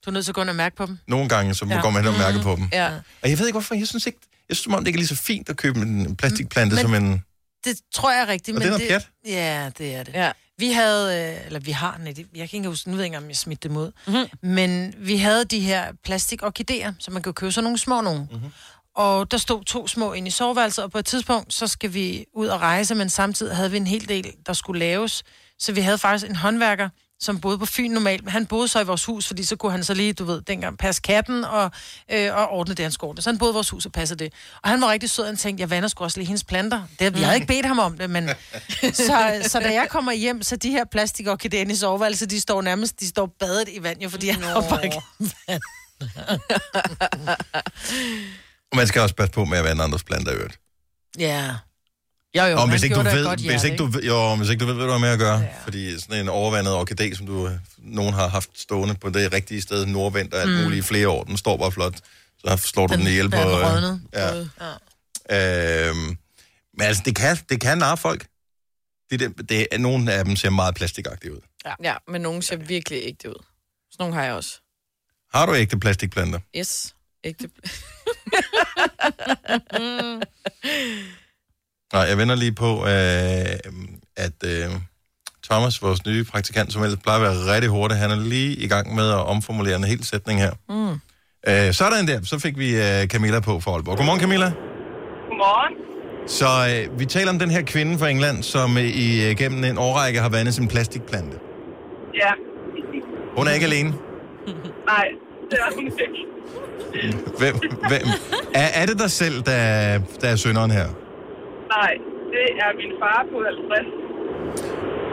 S3: Du er nødt til kun at mærke på dem.
S1: nogle gange, så ja. går man hen og mærke på dem.
S4: Ja.
S1: Og jeg ved ikke, hvorfor, jeg synes ikke, Jeg synes, som om det ikke er lige så fint at købe en plastikplante men, som en...
S3: Det tror jeg er rigtigt.
S1: Og det er noget
S3: det, Ja, det er det. Ja. Vi havde, øh, eller vi har net, jeg kan ikke huske, nu ved jeg ikke, om jeg smidte dem ud, mm-hmm. men vi havde de her plastikorkideer, så man kan jo købe sådan nogle små nogle.
S1: Mhm.
S3: Mm-hmm. Og der stod to små inde i soveværelset, og på et tidspunkt, så skal vi ud og rejse, men samtidig havde vi en hel del, der skulle laves. Så vi havde faktisk en håndværker, som boede på Fyn normalt, men han boede så i vores hus, fordi så kunne han så lige, du ved, dengang passe katten og, øh, og ordne det, han skulle ordne. Så han boede i vores hus og passede det. Og han var rigtig sød, og han tænkte, jeg vander sgu også lige hendes planter. Det, jeg havde ikke bedt ham om det,
S1: [LAUGHS]
S3: men... så, så da jeg kommer hjem, så de her plastikorkideer inde i soveværelset, de står nærmest, de står badet i vand, jo, fordi han har pakket vand.
S1: Og man skal også passe på med at være en andres plante i øvrigt.
S3: Ja. Jo, jo,
S1: og
S3: han
S1: hvis ikke, du
S3: gjorde da et
S1: ved,
S3: godt
S1: hvis
S3: hjerte,
S1: ikke du, ved- jo, hvis ikke du ved, hvad du har med at gøre, ja. fordi sådan en overvandet orkidé, som du, øh, nogen har haft stående på det rigtige sted, nordvendt og alt
S3: Mm.
S1: mm. muligt i flere år, den står bare flot, så slår du den, den ihjel på...
S3: Da han
S1: øh,
S3: rådnede.
S1: ja.
S3: ja.
S1: Øhm, men altså, det kan, det kan narre folk. Det, det, det, er- nogle af dem ser meget plastikagtige ud.
S4: Ja. ja, men nogen ser virkelig ægte ud. Sådan nogle har jeg også.
S1: Har du ægte plastikplanter?
S4: Yes, ægte.
S3: [LAUGHS]
S1: Nej, jeg vender lige på, øh, at øh, Thomas, vores nye praktikant, som ellers plejer at være rigtig hurtig, han er lige i gang med at omformulere en hel sætning her.
S11: Mm.
S1: Øh, sådan der, så fik vi øh, Camilla på for Aalborg. Godmorgen, Camilla.
S11: Godmorgen.
S1: Så øh, vi taler om den her kvinde fra England, som øh, i, øh, gennem en årrække har vandet sin plastikplante.
S11: Ja,
S1: Hun er ikke alene.
S11: nej, det er hun ikke.
S1: Hvem, hvem? Er, er det dig selv, der, der er synderen her?
S11: [LAUGHS] Nej, det er min far på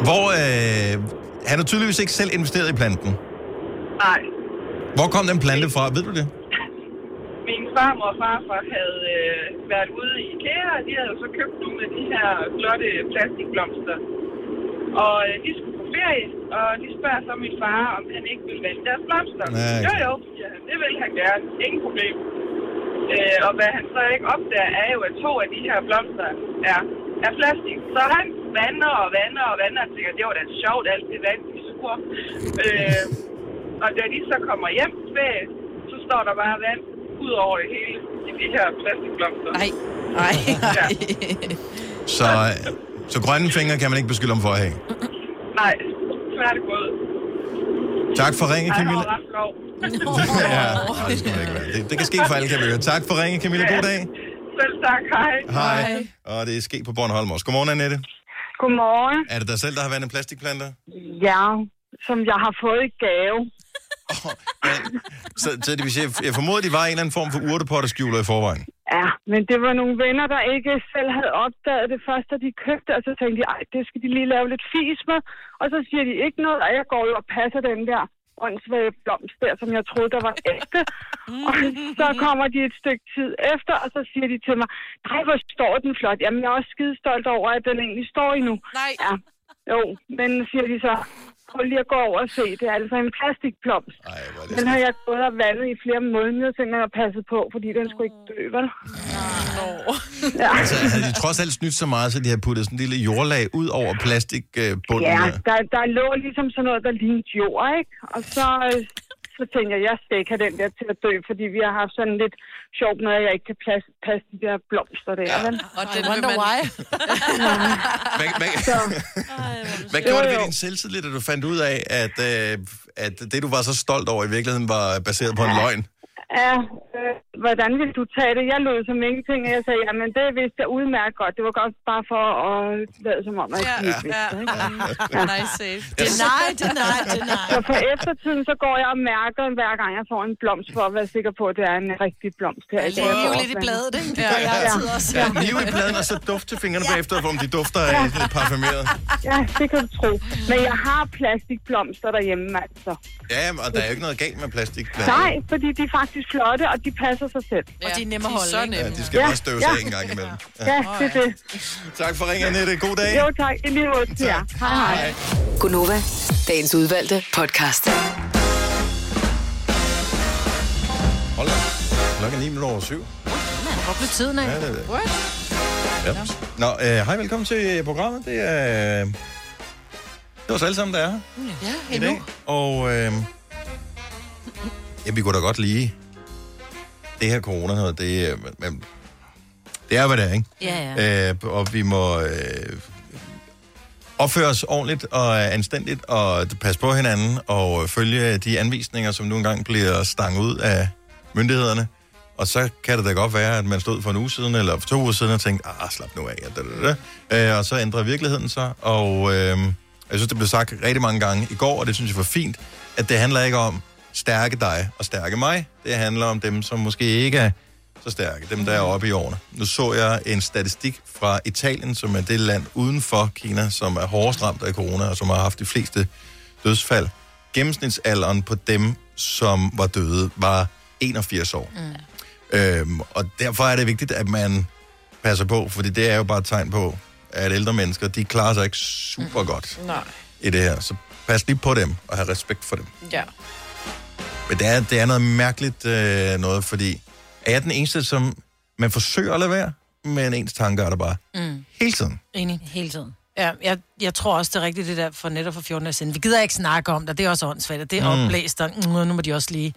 S11: 50.
S1: Hvor, øh, han har tydeligvis ikke selv investeret i planten.
S11: Nej,
S1: Hvor kom den plante fra? Ved du det?
S11: min farmor og farfar havde øh, været ude i IKEA, og de havde jo så købt nogle af de her flotte plastikblomster. Og øh, de skulle på ferie, og de spørger så min far, om han ikke ville vælge deres blomster.
S12: Ja,
S11: jo
S12: ikke.
S11: jo, siger han, det vil han gerne. Ingen problem. Øh, og hvad han så ikke opdager, er jo, at to af de her blomster er, er plastik. Så han vander og vander og vander, og tænker, det var da sjovt, alt det vand, de suger. Øh, og da de så kommer hjem ferie, så står der bare vand ud over det hele i de her plastikblomster. Nej, nej, nej.
S1: Så, øh, så grønne fingre kan man ikke beskylde om for at have.
S11: Nej, tværtimod.
S1: Tak for ringe,
S11: Ej, jeg
S1: Camilla.
S11: var ret flov.
S1: [LAUGHS] ja, nej, det, skal man ikke være. det, det kan ske for alle, kan vi høre. Tak for ringe, Camilla. God dag.
S11: Selv tak, hej.
S1: Hej. Og det er sket på Bornholm også. Godmorgen, Annette.
S13: Godmorgen.
S1: Er det dig selv, der har vandet plastikplanter?
S13: Ja, som jeg har fået i gave.
S1: Så, så det vil sige, jeg formoder, de var en eller anden form for urtepotterskjuler i forvejen.
S13: Ja, men det var nogle venner, der ikke selv havde opdaget det først, da de købte, og så tænkte de, ej, det skal de lige lave lidt fis med, og så siger de ikke noget, og jeg går jo og passer den der åndssvage blomst der, som jeg troede, der var ægte. Og så kommer de et stykke tid efter, og så siger de til mig, nej, hvor står den flot. Jamen, jeg er også skide stolt over, at den egentlig står endnu.
S4: Nej.
S13: Ja. Jo, men siger de så, prøv lige at gå over og se, det er altså en plastikblomst.
S1: Ej,
S13: den har jeg gået og vandet i flere måneder, så jeg har passet på, fordi den skulle ikke dø, vel? Ja.
S1: Altså, havde de trods alt snydt så meget, så de havde puttet sådan en lille jordlag ud over plastikbunden?
S13: Ja, der, der lå ligesom sådan noget, der lignede jord, ikke? Og så, øh, så tænkte jeg, jeg skal ikke have den der til at dø, fordi vi har haft sådan lidt sjovt med, at jeg ikke kan passe, passe de der blomster der. Ja.
S4: Og den wonder man... why.
S1: Hvad, hvad, [LAUGHS] hvad gjorde det ved din selvtillid, da du fandt ud af, at, øh, at det, du var så stolt over, i virkeligheden var baseret på en løgn?
S13: Ja, øh, hvordan vil du tage det? Jeg lød som ingenting, og jeg sagde, jamen det vidste jeg udmærket godt. Det var godt bare for at lade som om, at jeg
S4: Ja,
S13: ikke vidste det, ikke?
S4: ja. Nice save.
S13: Det er nej,
S4: det er nej, det er nej.
S13: Så på eftertiden, så går jeg og mærker, hver gang jeg får en blomst, for at være sikker på, at det er en rigtig blomst. Her.
S3: Lige hive lidt i bladet, ikke? Det gør jeg altid også.
S1: Ja, nive i pladen, og så duft til fingrene ja. bagefter, for om de dufter af sådan lidt parfumeret.
S13: Ja, det kan du tro. Men jeg har plastikblomster derhjemme, altså.
S1: Ja, og der er jo ikke noget galt med plastikplader.
S13: Nej, fordi de er faktisk flotte, og de passer sig selv.
S3: Og de er nemme at holde, ikke?
S1: Ja, de skal bare støves af en gang imellem.
S13: Ja, det er det.
S1: Tak for ringen, Annette. God dag.
S13: Jo, tak. I lige måde til jer. Hej, hej.
S5: Gunova, dagens udvalgte podcast.
S1: Hold da. Klokken er 9 minutter over syv.
S3: Hvor blev tiden af?
S1: Ja, det ved jeg. Ja. Nå, øh, hej, velkommen til øh, programmet. Det er... øh, Det er os alle sammen, der er her
S3: Ja,
S1: i dag. Og øh, ja, vi kunne da godt lige... Det her corona noget, det... øh, Man, man Det er, hvad det er, ikke?
S2: Ja,
S1: Øh, og vi må øh, opføre os ordentligt og anstændigt, og passe på hinanden, og følge de anvisninger, som nu engang bliver stanget ud af myndighederne. Og så kan det da godt være, at man stod for en uge siden, eller for to uger siden, og tænkte, ah, slap nu af, og, da, da, da. Øh, og så ændrer virkeligheden sig. Og øh, jeg synes, det blev sagt rigtig mange gange i går, og det synes jeg var fint, at det handler ikke om stærke dig og stærke mig. Det handler om dem, som måske ikke er så stærke, dem der er oppe i årene. Nu så jeg en statistik fra Italien, som er det land uden for Kina, som er hårdest ramt af corona, og som har haft de fleste dødsfald. Gennemsnitsalderen på dem, som var døde, var 81 år. Mm. Øhm, og derfor er det vigtigt, at man passer på, fordi det er jo bare et tegn på, at ældre mennesker, de klarer sig ikke super godt
S4: Nej.
S1: i det her. Så pas lige på dem, og have respekt for dem.
S4: Ja.
S1: Men det er, det er noget mærkeligt øh, noget, fordi er jeg den eneste, som man forsøger at lade være, men ens tanker er der bare
S3: Mm.
S1: hele tiden.
S3: Enig.
S2: Hele tiden.
S3: Ja, jeg, jeg tror også, det er rigtigt det der for netop for 14 år siden. Vi gider ikke snakke om det, det er også åndssvagt, og det er
S2: Mm.
S3: mm. oplæst, og mm, nu må de også lige...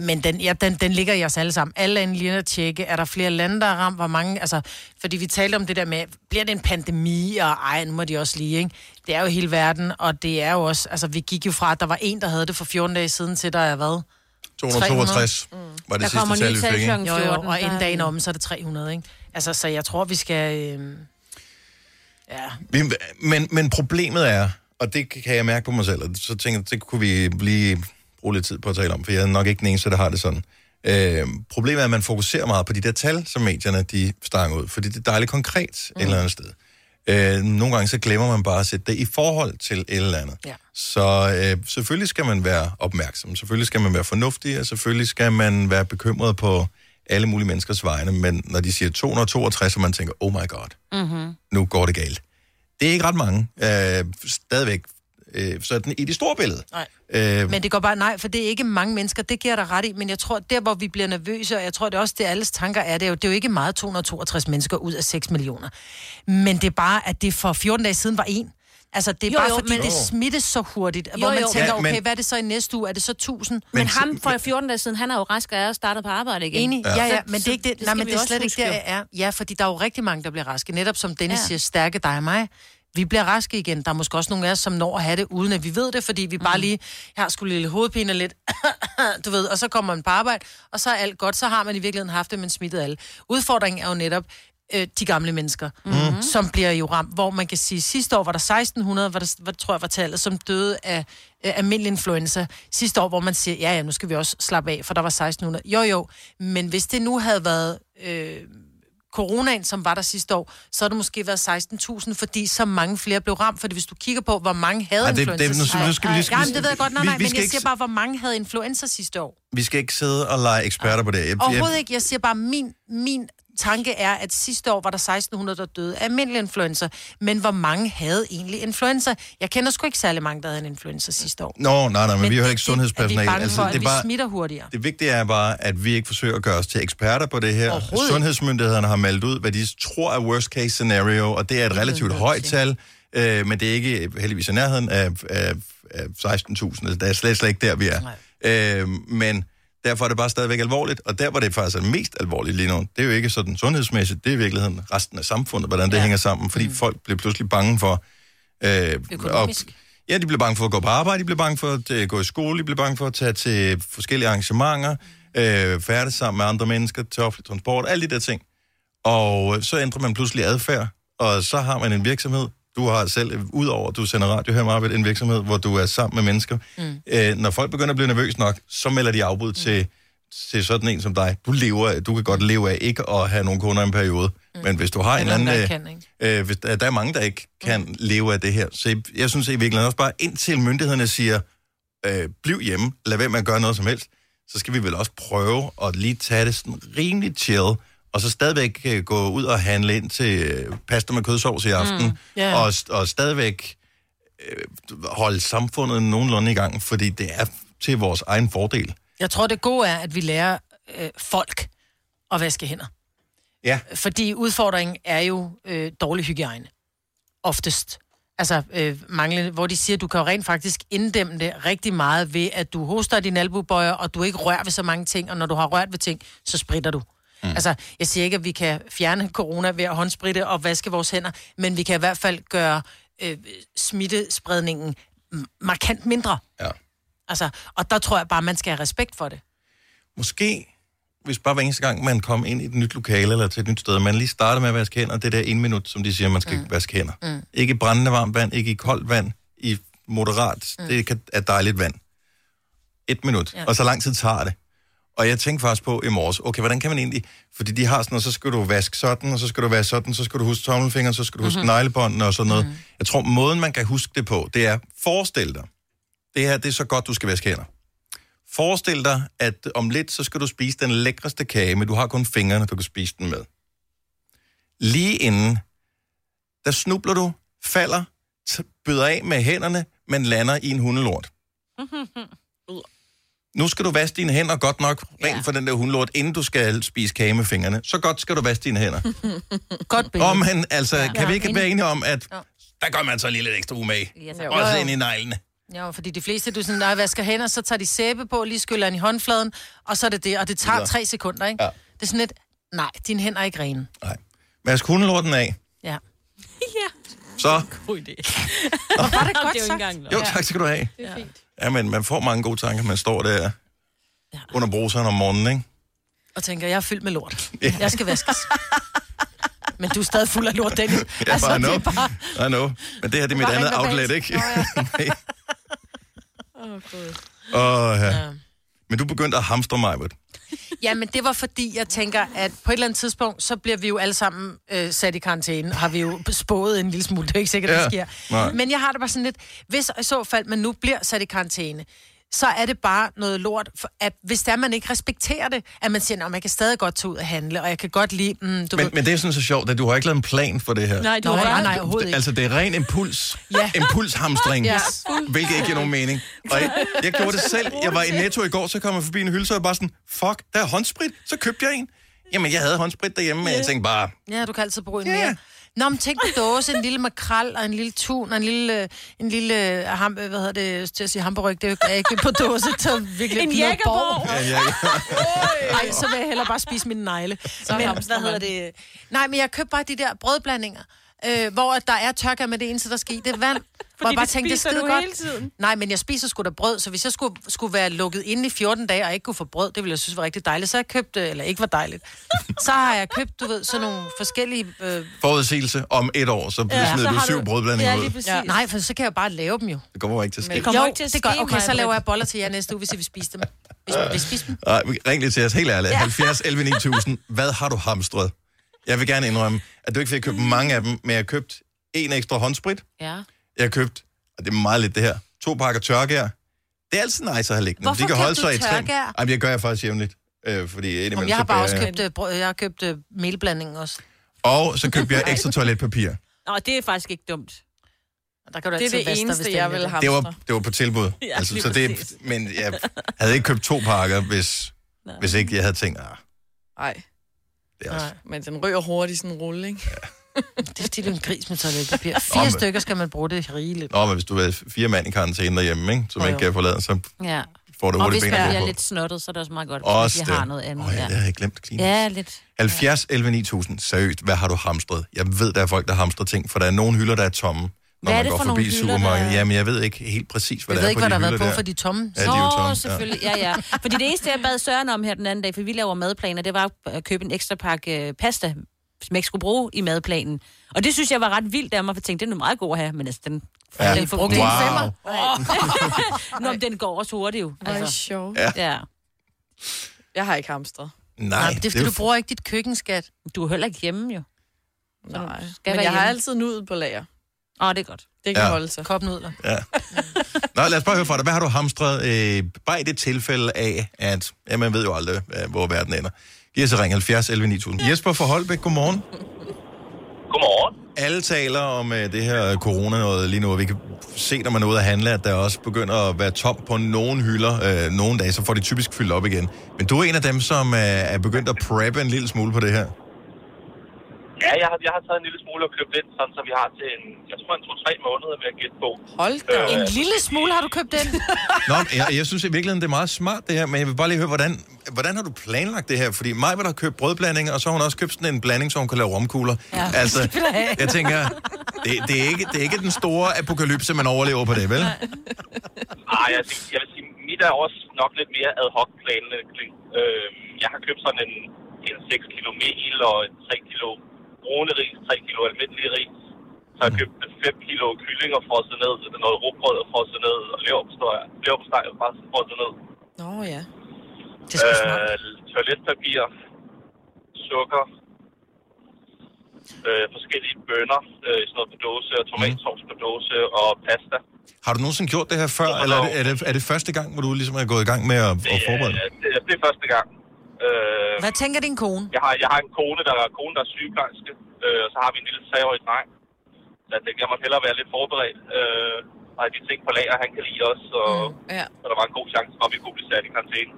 S3: Men den, ja, den, den ligger i os alle sammen. Alle lande lige at tjekke, er der flere lande, der er ramt, hvor mange... Altså, fordi vi talte om det der med, bliver det en pandemi, og ej, nu må de også lige, ikke? Det er jo hele verden, og det er jo også... Altså, vi gik jo fra, at der var en, der havde det for 14 dage siden, til der er hvad?
S1: 262 mm. var det sidste tal, vi fik. ikke?
S3: Jo, jo, og
S2: der
S3: en
S2: er
S3: dag
S2: den.
S3: om, så er det 300, ikke? Altså, så jeg tror, vi skal... Øh... Ja,
S1: Vi- Men, men problemet er, og det kan jeg mærke på mig selv, og så tænker jeg, det kunne vi lige bruge lidt tid på at tale om, for jeg er nok ikke den eneste, der har det sådan. Øh, problemet er, at man fokuserer meget på de der tal, som medierne de stanger ud, fordi det er dejligt konkret mm. et eller andet sted. Øh, nogle gange så glemmer man bare at sætte det i forhold til et eller andet.
S3: Ja.
S1: Så øh, selvfølgelig skal man være opmærksom, selvfølgelig skal man være fornuftig, og selvfølgelig skal man være bekymret på alle mulige menneskers vegne, men når de siger 262, og man tænker, oh my god,
S2: Mm-hmm.
S1: nu går det galt. Det er ikke ret mange, øh, stadigvæk, øh, sådan i det store billede.
S3: Nej.
S1: Øh,
S3: Men det går bare, nej, for det er ikke mange mennesker, det giver jeg dig ret i, men jeg tror, der hvor vi bliver nervøse, og jeg tror det er også, det alles tanker er, det er jo, det er jo ikke meget 262 mennesker ud af 6 millioner. Men det er bare, at det for 14 dage siden var en. Altså, det er
S2: Jo,
S3: jo, bare,
S2: jo,
S3: jo, fordi
S2: men-
S3: det
S2: Jo.
S3: smittes så hurtigt, jo,
S2: Jo,
S3: hvor man
S2: jo.
S3: jo. tænker,
S2: Ja,
S3: okay,
S2: men-
S3: hvad er det så i næste uge? Er det så 1000?
S2: Men, men ham fra 14 dage siden, han er jo rask og er startet på arbejde igen.
S3: Enig, ja, ja, men det er ikke det. Nej,
S2: skal
S3: men
S2: vi
S3: det er
S2: også
S3: slet ikke
S2: huske
S3: der,
S2: jo.
S3: jeg er. Ja, fordi der er jo rigtig mange, der bliver raske. Netop som Dennis
S2: Ja.
S3: ja. siger, stærke dig og mig. Vi bliver raske igen. Der er måske også nogle af os, som når at have det, uden at vi ved det, fordi vi
S2: Mm.
S3: bare lige har skulle lille hovedpine og lidt, [COUGHS] du ved, og så kommer man på arbejde, og så er alt godt. Så har man i virkeligheden haft det, men smittet alle. Udfordringen er jo netop, øh, de gamle mennesker,
S2: Mhm.
S3: mm. som bliver jo ramt, hvor man kan sige, sidste år var der 1600, var der, var, tror jeg var tallet, som døde af øh, almindelig influenza. Sidste år, hvor man siger, ja ja, nu skal vi også slappe af, for der var 1600. Jo jo, men hvis det nu havde været øh, coronaen, som var der sidste år, så havde det måske været 16.000, fordi så mange flere blev ramt. Fordi hvis du kigger på, hvor mange havde
S1: Ej, det-
S3: influenza
S1: det- nu-
S3: sidste
S1: nu skal vi
S3: år-
S1: lige- skal vi-
S3: Ja, men det ved jeg godt, nej,
S1: vi-
S3: nej,
S1: vi
S3: men
S1: skal
S3: jeg
S1: ikke-
S3: siger bare, hvor mange havde influenza sidste år.
S1: Vi skal ikke sidde og lege eksperter på det. Jeg,
S3: Overhovedet ikke. Jeg siger bare, min, min tanke er, at sidste år var der 1600, der døde af almindelig influenza. Men hvor mange havde egentlig influenza? Jeg kender sgu ikke særlig mange, der havde en influenza sidste år.
S1: Nå, nej, nej, men, men vi er jo ikke
S3: At vi er
S1: sundhedspersonale.
S3: bange
S1: Altså,
S3: for,
S1: det,
S3: at
S1: er
S3: vi
S1: bare,
S3: smitter hurtigere.
S1: det vigtige er bare, at vi ikke forsøger at gøre os til eksperter på det her.
S3: Overhovedet.
S1: Sundhedsmyndighederne har meldt ud, hvad de tror er worst case scenario, og det er et relativt højt tal, øh, men det er ikke heldigvis i nærheden af, af, af 16.000. Altså, det er slet, slet ikke der, vi er. Øh, men derfor er det bare stadigvæk alvorligt, og der, hvor det faktisk er mest alvorligt lige nu, det er jo ikke sådan sundhedsmæssigt, det er i virkeligheden resten af samfundet, hvordan det ja. hænger sammen, fordi mm. folk bliver pludselig bange for... Øh,
S12: Økonomisk.
S1: Og, ja, de bliver bange for at gå på arbejde, de bliver bange for at øh, gå i skole, de bliver bange for at tage til forskellige arrangementer, øh, færdes sammen med andre mennesker, til offentlig transport, alle de der ting. Og øh, så ændrer man pludselig adfærd, og så har man en virksomhed. Du har selv, øh, udover at du sender radio her med arbejde, en virksomhed, hvor du er sammen med mennesker. Mm. Øh, når folk begynder at blive nervøse nok, så melder de afbud mm. til, til sådan en som dig. Du lever, af- du kan godt leve af ikke at have nogen kunder i en periode. Mm. Men hvis du har en eller anden... øh, Øh, hvis der, der er mange, der ikke kan mm. leve af det her. Så jeg, jeg synes i virkeligheden også bare, indtil myndighederne siger, øh, bliv hjemme, lad være med at gøre noget som helst, så skal vi vel også prøve at lige tage det sådan rimelig chill, og så stadigvæk øh, gå ud og handle ind til øh, pasta med kødsovs i aften, mm.
S12: Mm, ja.
S1: og, st- og stadigvæk øh, holde samfundet nogenlunde i gang, fordi det er til vores egen fordel.
S3: Jeg tror, det gode er, at vi lærer øh, folk at vaske hænder.
S1: Ja.
S3: Fordi udfordringen er jo øh, dårlig hygiejne. Oftest. Altså, øh, manglende, hvor de siger, at du kan jo rent faktisk inddæmme det rigtig meget ved, at du hoster dine albubøjer, og du ikke rører ved så mange ting, og når du har rørt ved ting, så spritter du. Mm. Altså, jeg siger ikke, at vi kan fjerne corona ved at håndspritte og vaske vores hænder, men vi kan i hvert fald gøre øh, smittespredningen m- markant mindre.
S1: Ja.
S3: Altså, og der tror jeg bare, man skal have respekt for det.
S1: Måske, hvis bare hver eneste gang, man kom ind i et nyt lokale eller til et nyt sted, man lige starter med at vaske hænder, det der en minut, som de siger, man skal mm. vaske hænder.
S3: [LAUGHS]
S1: Mm. Ikke i brændende varmt vand, ikke i koldt vand, i moderat, mm. det kan- er dejligt vand. Et minut,
S12: Ja.
S1: ja. og så lang tid tager det. Og jeg tænkte faktisk på i morges, okay, hvordan kan man egentlig... Fordi de har sådan noget, så skal du vaske sådan, og så skal du vaske sådan, så skal du huske tommelfingeren, så skal du huske mm-hmm. neglebåndene og sådan noget. Mm-hmm. Jeg tror, måden man kan huske det på, det er, forestil dig, det her, det er så godt, du skal vaske hænder. Forestil dig, at om lidt, så skal du spise den lækreste kage, men du har kun fingrene, du kan spise den med. Lige inden, der snubler du, falder, t- byder af med hænderne, men lander i en hundelort. Nu skal du vaske dine hænder godt nok rent ja. for den der hundelort, inden du skal spise kage med fingrene. Så godt skal du vaske dine hænder.
S3: [LAUGHS] Godt
S1: Åh, men altså,
S3: Ja.
S1: ja. kan vi ikke
S3: Ja,
S1: være
S3: enig.
S1: enige om, at
S3: Jo.
S1: der gør man så lige lidt ekstra umage?
S3: Ja, tak. Jo,
S1: Også
S3: jo.
S1: ind i neglene.
S3: Ja, fordi de fleste, du sådan, nej, vasker hænder, så tager de sæbe på, lige skyller den i håndfladen, og så er det det, og det tager
S1: Videre.
S3: tre sekunder, ikke?
S1: Ja.
S3: Det er sådan lidt, nej, dine hænder er ikke rene.
S1: Vask hundelorten af,
S3: Ja.
S4: [LAUGHS]
S2: ja.
S1: så...
S4: God idé.
S3: Hvor var det godt
S4: jo ikke
S3: sagt?
S4: engang løgn.
S1: Jo, tak skal du have.
S4: Det er fint.
S1: Ja, men man får mange gode tanker, man står der ja. under bruseren om morgenen, ikke?
S3: Og tænker, jeg er fyldt med lort.
S1: Ja.
S3: Jeg skal vaskes.
S1: [LAUGHS]
S3: Men du er stadig fuld af lort, Dennis.
S1: Ja, altså, I
S3: det
S1: know.
S3: er bare...
S1: I know. Men det her, det er mit
S3: Bare
S1: andet
S3: rent
S1: outlet,
S3: verbalt.
S1: ikke?
S3: Nå,
S4: Åh, oh, gud.
S1: [LAUGHS] Åh, ja. ja. Men du begyndte at hamstre mig, ved.
S3: Ja, men det var fordi, jeg tænker, at på et eller andet tidspunkt, så bliver vi jo alle sammen øh, sat i karantæne. Har vi jo spået en lille smule. Det er ikke sikkert, ja. det
S14: Ja.
S3: sker.
S14: Nej.
S3: Men jeg har det bare sådan lidt, hvis i så fald man nu bliver sat i karantæne, så er det bare noget lort, for at hvis der man ikke respekterer det, at man siger, at man kan stadig godt tage ud og handle, og jeg kan godt lide... Mm, du ved,
S1: Men, men det er sådan så sjovt, at du har ikke lavet en plan for det her.
S3: Nej, du har ikke- nej, overhovedet ikke.
S1: Altså, det er ren
S3: [LAUGHS]
S1: impuls.
S3: Ja.
S1: Impulshamstring.
S3: Ja.
S1: Hvilket ikke giver nogen mening. Og jeg, jeg gjorde det selv. Jeg var i Netto i går, så kom jeg forbi en hylde, så var jeg bare sådan, fuck, der er håndsprit. Så købte jeg en. Jamen, jeg havde håndsprit derhjemme, men jeg tænkte bare,
S3: Ja, du kan altid bruge en yeah. mere. Nå, men tænk på dåse, en lille makrel og en lille tun og en lille, øh, en lille øh, ham, øh, hvad hedder det, til at sige hamburg, det er jo ikke på dåse, så virkelig
S14: En
S3: bliver
S14: jækkerborg.
S1: ja, ja,
S3: Nej, så vil jeg hellere bare spise min negle.
S14: Så
S3: men,
S14: hamstrer
S3: hvad hedder
S14: man.
S3: det? Nej, men jeg købte bare de der brødblandinger, øh, hvor at der er tørker med det eneste, der skal i, det er [LAUGHS] vand. hvor jeg bare
S14: det
S3: tænkte, det er
S14: spiser
S3: skide
S14: du
S3: godt.
S14: hele tiden.
S3: Nej, men jeg spiser sgu da brød, så hvis jeg skulle, skulle være lukket inde i 14 dage og ikke kunne få brød, det ville jeg synes var rigtig dejligt. Så har jeg købt, øh, eller ikke var [LAUGHS] dejligt, så har jeg købt, du ved, sådan nogle forskellige... Øh,
S1: forudsigelse om et år, så ja, smider du syv brødblandinger ud.
S3: Ja. Nej, for så kan jeg bare lave dem jo.
S1: Det kommer ikke til at ske.
S3: jo, det gør. Okay, så laver jeg boller til jer næste uge, hvis I vil spise dem. Hvis I vil spise dem.
S1: Nej, ring lige til os, helt ærligt.
S3: Ja.
S1: Ja. 70 11 9000. Hvad har du hamstret? Jeg vil gerne indrømme, at du ikke fik købt mange af dem, men jeg har købt en ekstra håndsprit.
S2: Ja.
S1: Jeg har købt, og det er meget lidt det her, to pakker tørkær. Det er altid nice at have liggende.
S3: Hvorfor
S1: De kan holde
S3: købte
S1: sig i
S3: du
S1: trim.
S3: tørkær?
S1: Jamen, jeg gør jeg faktisk jævnligt. Øh, fordi indimellem,
S3: Om jeg har
S1: så
S3: bare
S1: bærer
S3: også
S1: jeg-
S3: købt, øh, brød, jeg har købt øh, melblandingen også.
S1: Og
S3: [LAUGHS]
S1: så købte jeg ekstra toiletpapir.
S2: Nå, det er faktisk ikke dumt.
S3: Der kan du
S4: Det
S3: altid
S4: er det
S3: vaske dig,
S4: eneste,
S3: hvis det er
S4: jeg
S3: lidt.
S4: vil have.
S1: Det var, det var på
S3: [LAUGHS]
S1: tilbud.
S4: Ja,
S1: altså,
S4: lige
S1: så det,
S4: præcis.
S1: men jeg havde ikke købt to pakker, hvis, hvis ikke jeg havde tænkt, ah,
S4: Nej.
S1: Det er også-
S4: Men den rører hurtigt sådan en rulle, ikke?
S3: Det er fordi, du er en gris med toiletpapir. Fire
S1: men-
S3: stykker skal man bruge det rigeligt.
S1: Nå, men hvis du er fire mand i karantæne derhjemme, ikke, som
S3: Jo,
S1: man
S3: jo.
S1: ikke kan forlade, så
S2: Ja.
S1: får du
S2: Og
S1: hurtigt
S2: hvis
S1: ben
S2: man
S1: at gå
S2: bliver
S1: på.
S2: lidt snottet, så er det også meget godt, at
S1: Også
S2: vi
S1: det.
S2: har noget andet.
S1: Åh ja, det har jeg glemt. Kleenex.
S2: Ja, lidt.
S1: 70, 11, 9000. Seriøst, hvad har du hamstret? Jeg ved, der er folk, der hamstrer ting, for der er nogle hylder, der er tomme, når
S2: Hvad er
S1: man
S2: det
S1: går
S2: for
S1: forbi
S2: nogle hylder,
S1: supermarkedet.
S2: der er-
S1: Jamen, jeg ved ikke helt præcis,
S3: Jeg
S1: hvad der
S3: ved
S1: er
S3: ikke,
S1: på
S3: hvad der
S1: de
S3: har været
S1: hylder
S3: på, for de er tomme.
S1: Ja, de er jo tomme.
S2: Nå, selvfølgelig. Ja, ja. Fordi det eneste, jeg bad Søren om her den anden dag, for vi laver madplaner, det var at købe en ekstra pakke øh, pasta, som jeg ikke skulle bruge i madplanen. Og det synes jeg var ret vildt af mig, for jeg tænkte, den er meget god at have, men altså, den,
S1: Ja.
S2: den
S1: Brugte en Wow. femmer.
S2: Oh. Nå, men den går også hurtigt jo. altså.
S4: Hvor er det sjovt.
S1: Ja.
S2: ja.
S4: Jeg har ikke hamstret.
S1: Nej,
S3: Nej, det er fordi, du bruger ikke dit køkkenskat.
S2: Du er heller ikke hjemme, jo.
S4: Nej,
S2: skal
S4: men
S2: være
S4: jeg har
S2: hjemme.
S4: altid nudet på lager.
S2: Åh, oh, det er godt.
S4: Det kan
S1: Ja.
S4: holde sig.
S3: Kopnudler.
S1: Nå, lad os bare høre fra dig. Hvad har du hamstret? Øh, bare i det tilfælde af, at ja, man ved jo aldrig, øh, hvor verden ender. Giv os et ring 70, 11, 9000. Jesper fra Holbæk, godmorgen.
S15: Godmorgen.
S1: Alle taler om øh, det her corona noget lige nu, og vi kan se, når man er ude at handle, at der også begynder at være tomt på nogle hylder øh, nogle dage, så får de typisk fyldt op igen. Men du er en af dem, som øh, er begyndt at preppe en lille smule på det her.
S15: Ja, jeg har, jeg har taget en lille smule og købt lidt, sådan, så vi har til en, jeg tror, en to-tre måneder med at gætte på.
S3: Hold da.
S15: Øh,
S3: En lille smule har du købt
S1: [LAUGHS]
S3: den.
S1: Nå, men jeg, jeg synes i virkeligheden, det er meget smart det her, men jeg vil bare lige høre, hvordan, hvordan har du planlagt det her? Fordi mig vil har købt brødblandinger, og så har hun også købt sådan en blanding, så hun kan lave romkugler.
S2: Ja,
S1: altså,
S2: det skal vi da have.
S1: jeg tænker, det, det, er ikke, det er ikke den store apokalypse, man overlever på det, vel?
S15: Ej, Ah, jeg, tænker- jeg vil sige, mit er også nok lidt mere ad hoc planlægning. Øh, jeg har købt sådan en, en 6 kilo mel og en 3 kilo brune ris, 3 kilo almindelig ris. Så har jeg købt 5 kilo kyllinger frosset ned, noget rugbrød og frosset ned, og leverpostej leverpostej og frosset ned.
S4: Nå ja.
S15: Øh, toiletpapir, sukker, øh, forskellige bønner, øh, sådan noget på dåse, og tomatsovs på dåse, og pasta.
S1: Har du nogensinde gjort det her før, eller er det, er det, er det første gang, hvor du ligesom er gået i gang med at, at forberede
S15: det? Det, er- det er første gang. Øh,
S3: Hvad tænker din kone?
S15: jeg, har, jeg har en kone, der er, kone, der er sygeplejerske, øh, og så har vi en lille 3-årig dreng. Så jeg tænkte, jeg måtte hellere være lidt forberedt. Øh, og have de ting på lager, han kan lide os, og,
S3: Mm,
S4: ja.
S15: og der var en god chance for, at vi kunne blive sat i karantæne.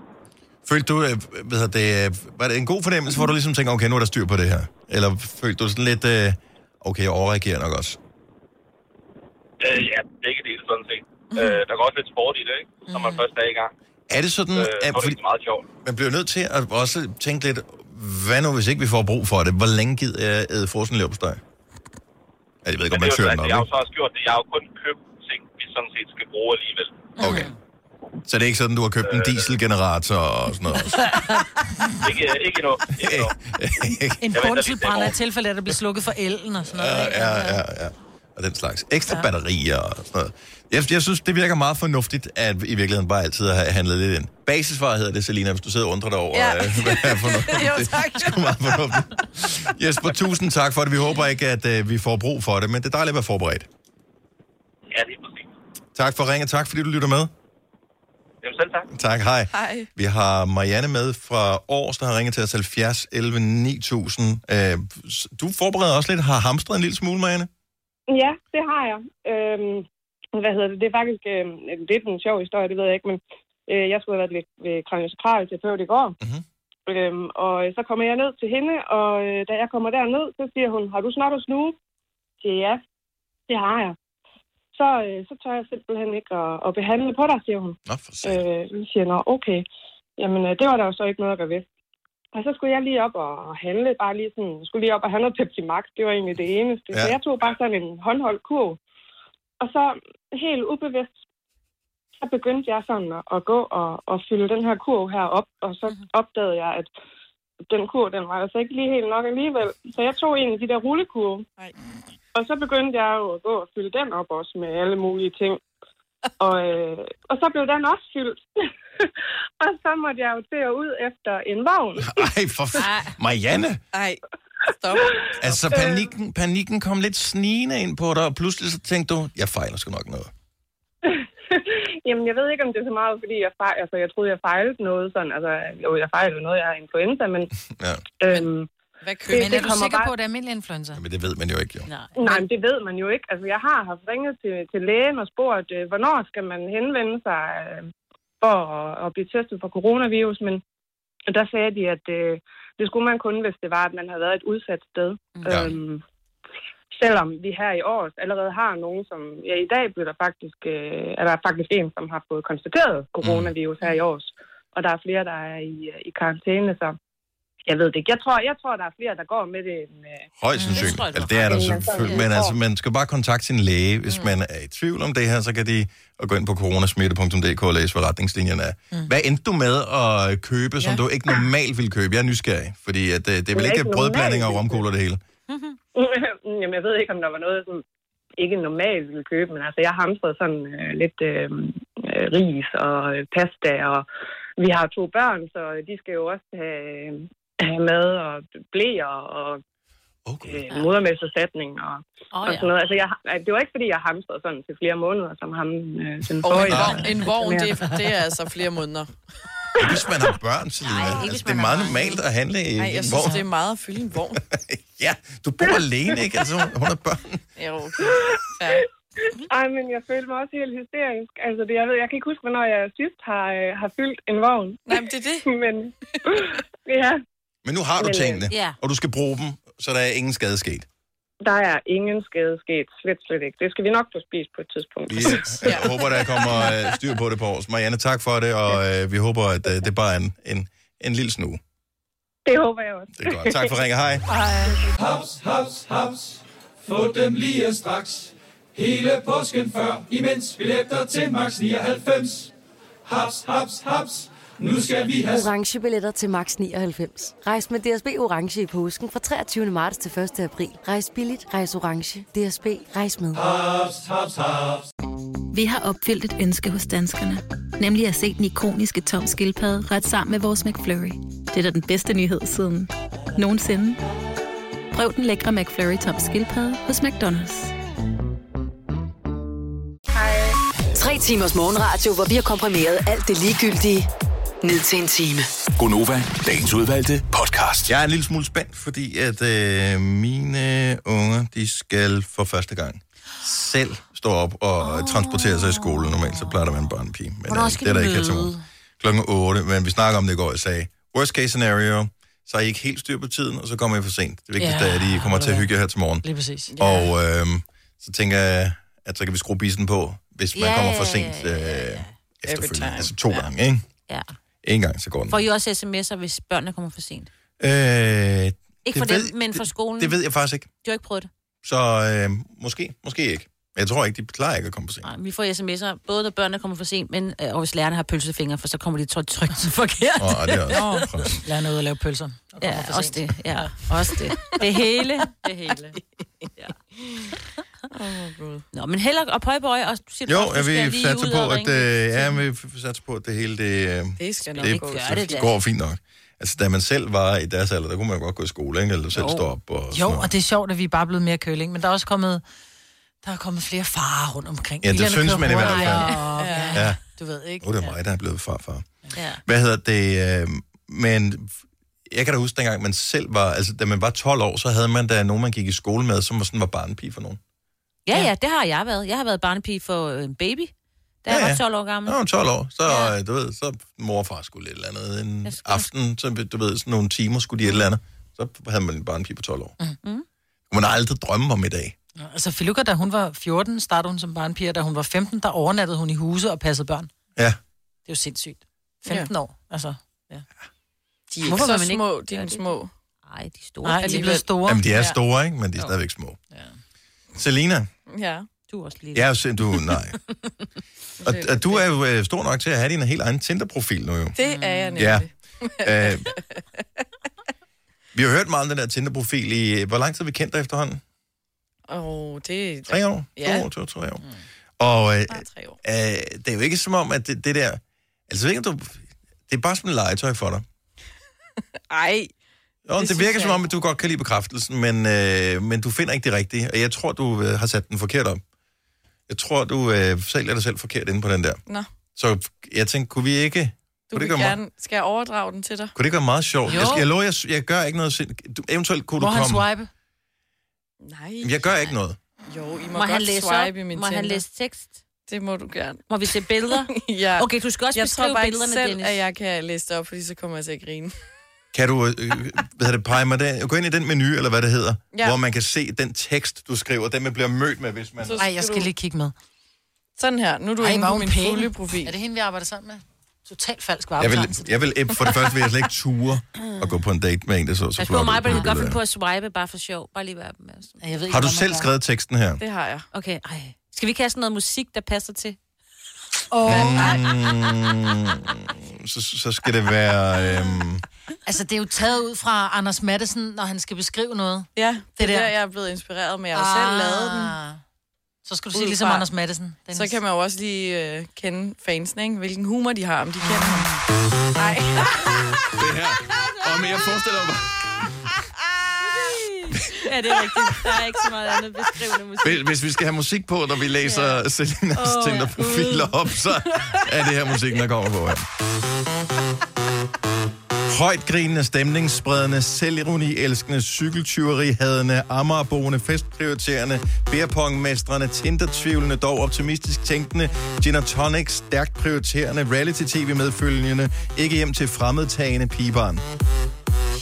S1: Følte du, øh, hvad hedder det, øh, var det en god fornemmelse, hvor du ligesom tænker, okay, nu er der styr på det her? Eller følte du sådan lidt, øh, okay, jeg overreagerer nok også?
S15: Øh, ja, begge dele sådan set.
S3: Mhm.
S15: Øh, der går også lidt sport i det, ikke? Når man først er i gang.
S1: Er det sådan,
S15: Øh,
S1: at
S15: så er det ikke meget sjovt.
S1: man bliver nødt til at også tænke lidt, hvad nu, hvis ikke vi får brug for det? Hvor længe gider jeg æde frossen leverpostej? Ja, jeg ved ikke, om
S15: Men
S1: man
S15: det er jo
S1: søger den
S15: sådan,
S1: op,
S15: at Jeg har jo
S1: ikke?
S15: så også gjort det. Jeg har jo kun købt ting, vi sådan set skal bruge alligevel.
S1: Okay. Så det er ikke sådan, du har købt en dieselgenerator og sådan noget?
S15: Øh, [LAUGHS] ikke, ikke noget. Ikke noget.
S3: En
S1: Jeg venter lige
S3: bundselbrænder i tilfælde, af, at der bliver slukket for elen og sådan noget.
S1: Ja, ja, ja, ja. Og den slags. Ekstra ja. batterier og sådan noget. Jeg, jeg synes, det virker meget fornuftigt, at i virkeligheden bare altid har handlet lidt ind. Basisvar hedder det, Selina, hvis du sidder og undrer dig over,
S12: Ja.
S1: ja. hvad er fornuftigt.
S12: Jo,
S1: Det
S12: tak.
S1: er sgu meget fornuftigt. Jesper, tusind tak for det. Vi håber ikke, at øh, vi får brug for det, men det er dejligt at være forberedt.
S15: Ja, lige præcis.
S1: Tak for ringen, tak fordi du lytter med.
S15: Jamen selv tak.
S1: Tak, hej.
S15: Hej.
S1: Vi har Marianne med fra Aarhus, der har ringet til os 70 11 9000. Øh, s- du forbereder også lidt, har hamstret en lille smule, Marianne?
S14: Ja, det har jeg. Øhm, hvad hedder det? Det er faktisk øhm, lidt en sjov historie, det ved jeg ikke, men øh, jeg skulle have været ved, ved kraniosakral terapeut i går.
S1: Mm-hmm.
S14: Øhm, og så kommer jeg ned til hende, og øh, da jeg kommer derned, så siger hun, har du snart at snuge? Jeg siger, ja, det har jeg. Så, øh, så tør jeg simpelthen ikke at, at behandle på dig, siger hun.
S1: Nå, for
S14: øh, jeg siger, nå, okay. Jamen, øh, det var der jo så ikke noget at gøre ved. Og så skulle jeg lige op og handle, bare lige sådan, jeg skulle lige op og have noget Pepsi Max, det var egentlig det eneste. Ja. Så
S16: Ja.
S14: jeg tog bare sådan en håndholdt kurv. Og så helt ubevidst, så begyndte jeg sådan at- at gå og, og fylde den her kurv her op, og så opdagede jeg, at den kurv, den var altså ikke lige helt nok alligevel. Så jeg tog en af de der rullekurve, og så begyndte jeg jo at gå og fylde den op også med alle mulige ting. Og, øh, og så blev den også fyldt. [LAUGHS] og så måtte jeg jo til at ud efter en vogn.
S1: Ej, for f- Marianne!
S14: Ej,
S4: stop.
S1: Altså, panikken, panikken kom lidt snigende ind på dig, og pludselig så tænkte du, jeg fejler sgu nok noget.
S14: [LAUGHS] Jamen, jeg ved ikke, om det er så meget, fordi jeg, fejl, altså, jeg troede, jeg fejlede noget. Sådan, altså, jo, jeg fejlede noget, jeg har influenza, men...
S1: Ja.
S14: Øhm,
S3: Hvad køber? Men er du sikker på, at det er almindelig influenza?
S1: Men det ved man jo ikke, jo.
S3: Nej.
S14: Nej, men det ved man jo ikke. Altså, jeg har haft ringet til, til lægen og spurgt, øh, hvornår skal man henvende sig øh, for at, at blive testet for coronavirus, men der sagde de, at øh, det skulle man kun, hvis det var, at man havde været et udsat sted.
S16: Ja.
S14: Øhm, selvom vi her i år allerede har nogen, som... Ja, i dag blev der faktisk, øh, er der faktisk en, som har fået konstateret coronavirus her i år. Og der er flere, der er i, øh, i karantæne, så jeg ved det ikke. Jeg tror, jeg tror, der er flere, der går med det end, øh,
S1: Højst sandsynligt. Eller det er der
S14: ret i. Men så-
S1: selvfølgelig. Men altså, man skal bare kontakte sin læge. Hvis man er i tvivl om det her, så kan de og gå ind på coronasmitte.dk og læse, hvad retningslinjerne er. Hvad endte du med at købe, som du ikke normalt ville købe? Jeg er nysgerrig, fordi at, øh, det er vel
S14: Jeg er
S1: ikke
S14: ikke
S1: brødblandinger og
S14: normalt
S1: romkugler det hele.
S4: Mm-hmm.
S14: [LAUGHS] Jamen, jeg ved ikke, om der var noget, som ikke normalt ville købe, men altså, jeg hamstrede sådan øh, lidt øh, øh, ris og øh, pasta, og vi har to børn, så de skal jo også have, have mad og blæer og
S1: okay.
S14: øh, modermælkserstatning og,
S4: Åh,
S14: oh, og
S4: ja.
S14: sådan noget. Altså, jeg, har- det var ikke, fordi jeg hamstrede sådan til flere måneder, som ham øh, den forrige.
S4: En vogn, det, er- det er altså flere måneder.
S1: Hvis man har børn, så
S4: ikke hvis
S1: altså, det er
S4: man har
S1: meget
S4: børn.
S1: normalt at handle i
S4: Nej, jeg
S1: en
S4: synes,
S1: vogn.
S4: det er meget at fylde en vogn.
S1: Ja, du bor alene, ikke? Altså, hun hun har børn.
S4: Jo, okay. Mhm.
S14: Ej, men jeg følte mig også helt hysterisk. Altså, det, jeg, ved, jeg kan ikke huske, hvornår jeg sidst har, øh, har fyldt en vogn.
S4: Nej, men det er det.
S14: [LAUGHS] men, ja.
S1: Men nu har du
S14: Men, øh,
S1: tingene,
S14: ja.
S1: og du skal bruge dem, så der er ingen skade sket.
S14: Der er ingen skade sket. Slet, slet ikke. Det skal vi nok få spist på et tidspunkt.
S2: [LAUGHS]
S1: Vi ja. håber, der kommer øh, styr på det på os. Marianne, tak for det, og øh, vi håber, at øh, det bare er en, en, en lille snue.
S14: Det håber jeg også.
S1: Det er godt. Tak for ringe. Hej.
S12: Haps, haps, haps. Få dem lige straks. Hele påsken før, imens billetter til max 99. Haps, haps, haps. Nu skal vi have...
S16: orange billetter til max 99. Rejs med DSB orange i påsken fra 23. marts til 1. april. Rejs billigt, rejs orange. DSB rejs med.
S12: Haps, haps, haps.
S17: Vi har opfyldt et ønske hos danskerne. Nemlig at se den ikoniske tom skildpadde ret sammen med vores McFlurry. Det er da den bedste nyhed siden nogensinde. Prøv den lækre McFlurry tom skildpadde hos McDonald's.
S5: Tre timers morgenradio, hvor vi har komprimeret alt det ligegyldige ned til en time.
S1: Gonova, dagens udvalgte podcast. Jeg er en lille smule spændt, fordi at øh, mine unger, de skal for første gang selv stå op og oh. transportere sig i skole. Normalt så plejer der at være en børnepige, men øh,
S2: Hvornår skal
S1: det er der
S2: de
S1: ikke her til
S2: møde?
S1: morgen. Klokken 8, men vi snakker om det i går, jeg sagde, worst case scenario, så er I ikke helt styr på tiden, og så kommer I for sent. Det vigtigste
S3: Ja,
S1: er, at I kommer
S3: ved
S1: til at
S3: du
S1: hygge jer her til morgen.
S3: Lige præcis.
S1: Ja. Og øh, så tænker jeg, at så kan vi skrue bisen på, hvis man
S2: Ja,
S1: kommer
S2: ja,
S1: for
S2: ja,
S1: sent
S2: ja,
S1: øh, efterfølgende.
S2: time.
S1: Altså to gange, ikke?
S2: Ja.
S1: En gang, så går den.
S2: Får I også sms'er, hvis børnene kommer for sent?
S1: Øh, ikke
S2: Ikke for dem, men for skolen?
S1: Det ved jeg faktisk ikke.
S2: Du har ikke prøvet det?
S1: Så øh, måske, måske ikke. Jeg tror ikke, de klarer ikke at komme på scenen.
S2: Nej, vi får sms'er, både når børnene kommer for sent, men øh, og hvis lærerne har pølsefingre, for så kommer de trygt trygt [LAUGHS] forkert.
S1: Åh, det er også-
S3: Lad noget at lave pølser. og
S2: Ja,
S3: kommer for
S2: også
S3: sent.
S2: det. Ja, også det. Det
S3: [LAUGHS]
S2: hele. Det hele. Ja. Nå, men heller op højbøj, og du siger,
S1: Jo,
S2: også, du
S1: jeg
S2: skal
S1: vil
S2: lige
S1: satse
S2: ud
S1: på,
S2: og
S1: at
S2: ringe.
S1: øh, ja, men vi f- satser på, at det hele det, øh,
S2: Det skal nok
S1: det,
S2: gå.
S1: det,
S2: Gør det da.
S1: går fint nok. Altså, da man selv var i deres alder, der kunne man jo godt gå i skole, ikke? Eller selv stå op [LAUGHS] og sådan
S3: Jo,
S1: noget.
S3: og det er sjovt, at vi er bare blevet mere køling, men der er også kommet, der er kommet flere farer rundt omkring.
S1: Ja, det
S3: Bilerne
S1: synes
S3: kører
S1: man i hvert fald.
S3: hurtigere, og-
S1: Ja.
S3: Ja, du ved ikke.
S1: Nu er det mig, der er blevet farfar.
S3: Ja.
S1: Hvad hedder det? Øh, men jeg kan da huske, dengang man selv var... Altså, da man var 12 år, så havde man da nogen, man gik i skole med, som var sådan var barnepige for nogen.
S2: Ja, ja, det har jeg været. Jeg har været barnepige for øh, en baby, da jeg var 12 år gammel.
S1: Når man var 12 år, så, ja. du ved, så mor og far skulle et eller andet en aften, så du ved, sådan nogle timer skulle de et eller andet. Så havde man en barnepige på 12 år.
S3: Mhm.
S1: Mm. Man har aldrig drømme om i dag.
S3: Ja, Altså, Filuka, da hun var 14, startede hun som barnpige, og da hun var 15, der overnattede hun i huse og passede børn.
S1: Ja.
S3: Det er jo sindssygt. 15 ja. år, altså. Ja.
S4: De er ikke så små, de er nogle små.
S2: Nej, de er
S4: store.
S3: Nej, de er blevet store.
S1: Jamen, de er store, ikke? Men de er stadigvæk små. Ja. Selina,
S4: Ja.
S2: Du er også lille.
S1: jeg er jo sind- du, nej. og, og, du er jo øh, stor nok til at have din helt egen Tinder-profil nu jo.
S4: Det er jeg
S1: Ja.
S4: nemlig.
S1: Øh, vi har hørt meget om den der Tinder-profil i... Hvor lang tid har vi kendt dig efterhånden?
S4: Åh, det...
S1: Tre år?
S4: Ja. Mm.
S1: To år, to, tre år. Og øh, øh, det er jo ikke som om, at det, det der... Altså, jeg ved ikke, om du... Det er bare som en legetøj for dig.
S4: Ej.
S1: Jo, det, det
S4: synes
S1: virker
S4: jeg
S1: som om, at du godt kan lide bekræftelsen, men, øh, men du finder ikke det rigtige. Og jeg tror, du øh, har sat den forkert op. Jeg tror, du øh, sælger dig selv forkert inde på den der.
S4: Nå,
S1: Så jeg tænkte, kunne vi ikke...
S4: du
S1: kunne, det
S4: vil
S1: gøre meget,
S4: gerne... Skal jeg overdrage den til dig?
S1: kunne det ikke være meget sjovt?
S4: Jo.
S1: Jeg, skal- jeg lover, jeg, jeg gør ikke noget... sind- Du, eventuelt kunne du komme...
S4: Nej.
S1: Jamen, Jeg gør ikke noget.
S4: Jo, I må,
S2: Må
S4: godt
S2: han læse
S4: swipe
S2: op?
S4: i min
S2: Må han
S4: Tinder.
S2: læse tekst?
S4: Det må du gerne.
S2: Må vi se billeder?
S4: [LAUGHS] ja.
S2: Okay, du skal også
S4: jeg
S2: beskrive
S4: tror bare
S2: billederne,
S4: ikke selv,
S2: Dennis.
S4: at jeg kan læse det op, fordi så kommer jeg til at grine.
S1: Kan du øh, øh, hvad hedder det, pege mig der? Gå ind i den menu, eller hvad det hedder,
S4: Ja.
S1: ja. hvor man kan se den tekst, du skriver, den man bliver mødt med, hvis man...
S4: Så
S3: Ej, jeg skal lige kigge med.
S4: Sådan her. Nu er du
S3: Ej,
S4: inde
S3: var
S4: på
S3: hun
S4: min
S3: pæn.
S4: fulde profil.
S3: Er det hende, vi arbejder sammen med? Totalt falsk var
S1: Jeg vil, jeg vil, øh, for det første vil jeg slet ikke ture at gå på en date med en, der så så
S2: Pas på mig, men du kan godt
S1: billedet
S2: finde
S1: af.
S2: på at swipe bare for sjov. Bare lige være opmærksom.
S3: Jeg ved
S1: Har du selv skrevet teksten her?
S4: Det har jeg.
S2: Okay, ej. Skal vi ikke have sådan noget musik, der passer til?
S1: Mm, så, så skal det være... Øhm,
S3: Altså, det er jo taget ud fra Anders Madsen, når han skal beskrive noget.
S4: Ja, det, det er der, jeg er blevet inspireret, men jeg har jo
S2: Ah.
S4: selv lavet den.
S3: Så skal du
S4: Ud
S3: sige ligesom
S4: fra-
S3: Anders Madsen.
S4: Så kan man jo også lige øh, kende fansene, ikke? hvilken humor de har, om de kender ham. Nej.
S1: det her. Og men jeg forestiller mig...
S2: Ja, det er rigtigt. Der er ikke så meget andet beskrivende musik.
S1: Hvis- Hvis vi skal have musik på, når vi læser ja. Selinas
S2: Åh,
S1: oh,
S2: ja.
S1: Tinder-profiler op, så er det her musikken, der kommer på her. Højtgrinende, stemningsspredende, selvironi, elskende, cykeltyveri, hadende, amagerboende, festprioriterende, beerpongmestrende, tindertvivlende, dog optimistisk tænkende, gin and tonic, stærkt prioriterende, reality-tv medfølgende, ikke hjem til fremmedtagende pigebarn.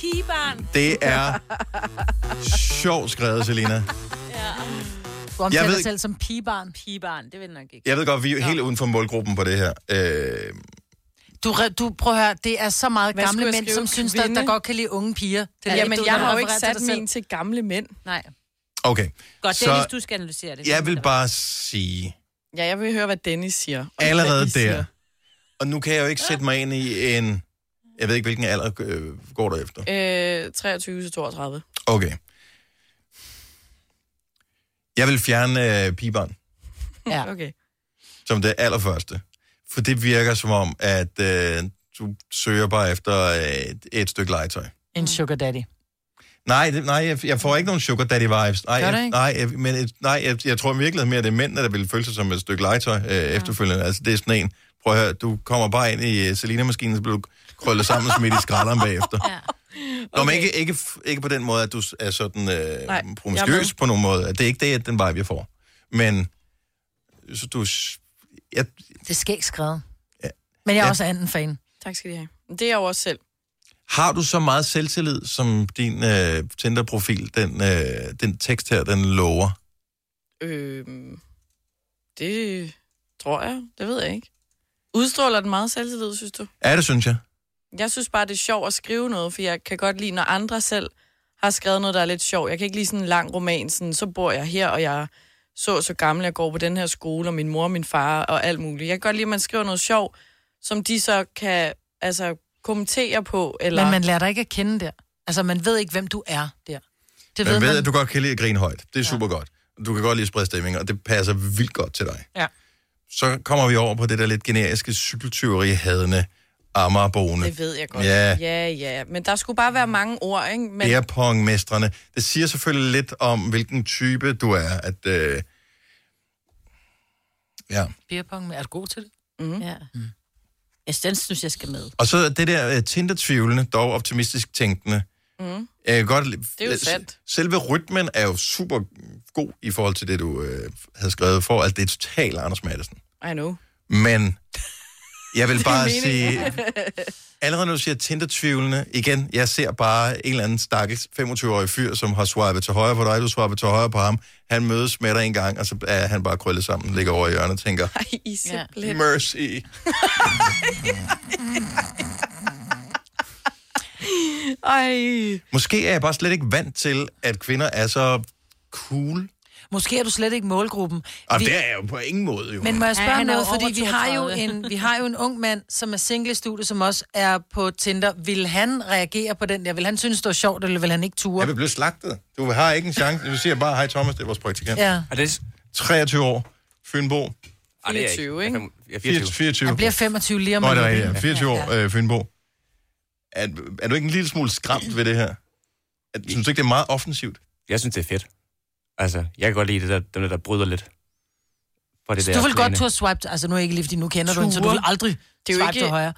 S2: pigebarn.
S1: Det er sjovt skrevet, Selina.
S3: Du omtaler
S1: Jeg ved
S3: dig
S1: ikke-
S3: selv som pigebarn.
S2: Pigebarn, det vil nok ikke.
S1: Jeg ved godt, vi er helt uden for målgruppen på det her. Øh,
S3: Du, re- du prøv at høre, det er så meget
S4: Hvad
S3: gamle
S4: skulle jeg
S3: mænd,
S4: skrive?
S3: som synes, der, der
S4: Kvinde?
S3: godt kan lide unge piger.
S4: Det
S3: er
S4: ja,
S3: ikke
S4: men
S3: du,
S4: jeg
S3: der
S4: har jo ikke
S3: refererer til dig
S4: sat
S3: selv.
S4: min til gamle mænd.
S2: Nej.
S1: okay.
S2: Godt,
S1: Så-
S2: Dennis, du skal analysere det.
S1: Jeg vil bare sige,
S4: Ja, jeg vil høre, hvad Dennis siger. Og hvad
S1: allerede
S4: I siger.
S1: der, og nu kan jeg jo ikke sætte mig ind i en, jeg ved ikke, hvilken alder øh, går der efter.
S4: Øh, 23 til 32.
S1: Okay. Jeg vil fjerne øh, pigebarn
S3: Ja.
S4: [LAUGHS] Okay.
S1: som det allerførste, for det virker som om, at øh, du søger bare efter øh, et stykke legetøj.
S3: En sugar daddy.
S1: Nej, det, nej jeg, jeg får ikke nogen sugar daddy vibes. Nej,
S3: Gør du
S1: jeg,
S3: ikke?
S1: nej, jeg, men, et- nej jeg, jeg tror virkelig mere, at det er mændene, der vil føle sig som et stykke legetøj øh, efterfølgende. Altså, det er sådan en, prøv at høre, du kommer bare ind i uh, Selina-maskinen, så bliver du krøllet sammen som i skralderen bagefter. Ja. Okay. Nå, men ikke, ikke, f- ikke på den måde, at du s- er sådan
S4: Nej,
S1: øh,
S4: jeg er
S1: promiskuøs
S4: med.
S1: på nogen måde. Det er ikke det, at den vibe, jeg får. Men så du... s- Jeg,
S3: Det skal ikke skrevet. Men jeg er
S1: Ja.
S3: også anden fan.
S4: Tak skal I have. Det er jeg jo også selv.
S1: har du så meget selvtillid, som din øh, Tinder-profil, den, øh, den tekst her, den lover?
S4: Øh, det tror jeg. Det ved jeg ikke. Udstråler den meget selvtillid, synes du?
S1: Er det, synes jeg?
S4: Jeg synes bare, det er sjovt at skrive noget, for jeg kan godt lide, når andre selv har skrevet noget, der er lidt sjovt. Jeg kan ikke lide sådan en lang roman, sådan, så bor jeg her, og jeg er så og så gammel, jeg går på den her skole, og min mor og min far og alt muligt. Jeg kan godt lide, at man skriver noget sjovt, som de så kan altså, kommentere på. Eller...
S3: Eller... Men man lærer dig ikke at kende der. Altså, man ved ikke, hvem du er der.
S1: Det man ved, ved at du godt kan lide at grine højt. Det er ja. super godt. Du kan godt lide at sprede stemning, og det passer vildt godt til dig.
S3: Ja.
S1: Så kommer vi over på det der lidt generiske cykeltyveri-hadende amagerboende.
S4: Det ved jeg godt.
S1: Ja,
S4: ja, ja. Men der skulle bare være mange ord, ikke? Men...
S1: men... bærepongmestrene. Det siger selvfølgelig lidt om, hvilken type du er. At, øh... Ja.
S3: Beerpong, er du god til det?
S4: Mm.
S2: Ja. Jeg den synes, jeg skal med.
S1: Og så det der øh, Tinder-tvivlende, dog optimistisk tænkende.
S4: Mm.
S1: Jeg kan godt... lide-
S4: Det er jo sandt.
S1: Selve rytmen er jo super god i forhold til det, du øh, havde skrevet for. Altså, det er totalt Anders Madsen.
S4: I know.
S1: Men jeg vil bare
S4: Det er meningen.
S1: sige,
S4: [LAUGHS]
S1: allerede når du siger Tinder-tvivlende, igen, jeg ser bare en eller anden stakkels 25-årig fyr, som har swipet til højre på dig, du swipet til højre på ham, han mødes med dig en gang, og så er han bare krøllet sammen, ligger over i hjørnet og tænker,
S4: Ej, I er simpelthen...
S1: mercy.
S4: Ej.
S1: Måske er jeg bare slet ikke vant til, at kvinder er så cool.
S3: Måske er du slet ikke målgruppen.
S1: Og det er jeg jo på ingen måde, jo.
S3: Men må jeg
S2: Ja,
S3: spørge ja,
S2: han er jo
S3: noget,
S2: over
S3: fordi vi har, jo
S2: 32.
S3: en, vi har jo en ung mand, som er single i studiet, som også er på Tinder. Vil han reagere på den der? Vil han synes, det var sjovt, eller vil han ikke ture?
S1: Jeg vil blive slagtet. Du har ikke en chance. Du siger bare, hej Thomas, det er vores praktikant.
S3: Ja.
S1: Er det... 23 år, Fynbo.
S18: Ej, det er jeg ikke.
S4: 24, ikke?
S18: Jeg er 24.
S1: 24.
S3: Han bliver 25 lige om
S1: Nå, det
S3: lidt,
S1: er rigtigt, ja.
S3: ikke?
S1: 24 år, øh, Fynbo. Er, er du ikke en lille smule skræmt ved det her? Er, synes du ikke, det er meget offensivt?
S18: Jeg synes, det er fedt. Altså, jeg kan godt lide det der, dem der, der bryder lidt. For det
S3: Så
S18: der
S3: du vil godt
S18: plane.
S3: turde swipe, til- altså nu er ikke lige, fordi nu kender du hende, så du
S4: Ture?
S3: vil aldrig
S4: Det er jo
S3: swipe
S4: ikke-
S3: til højre.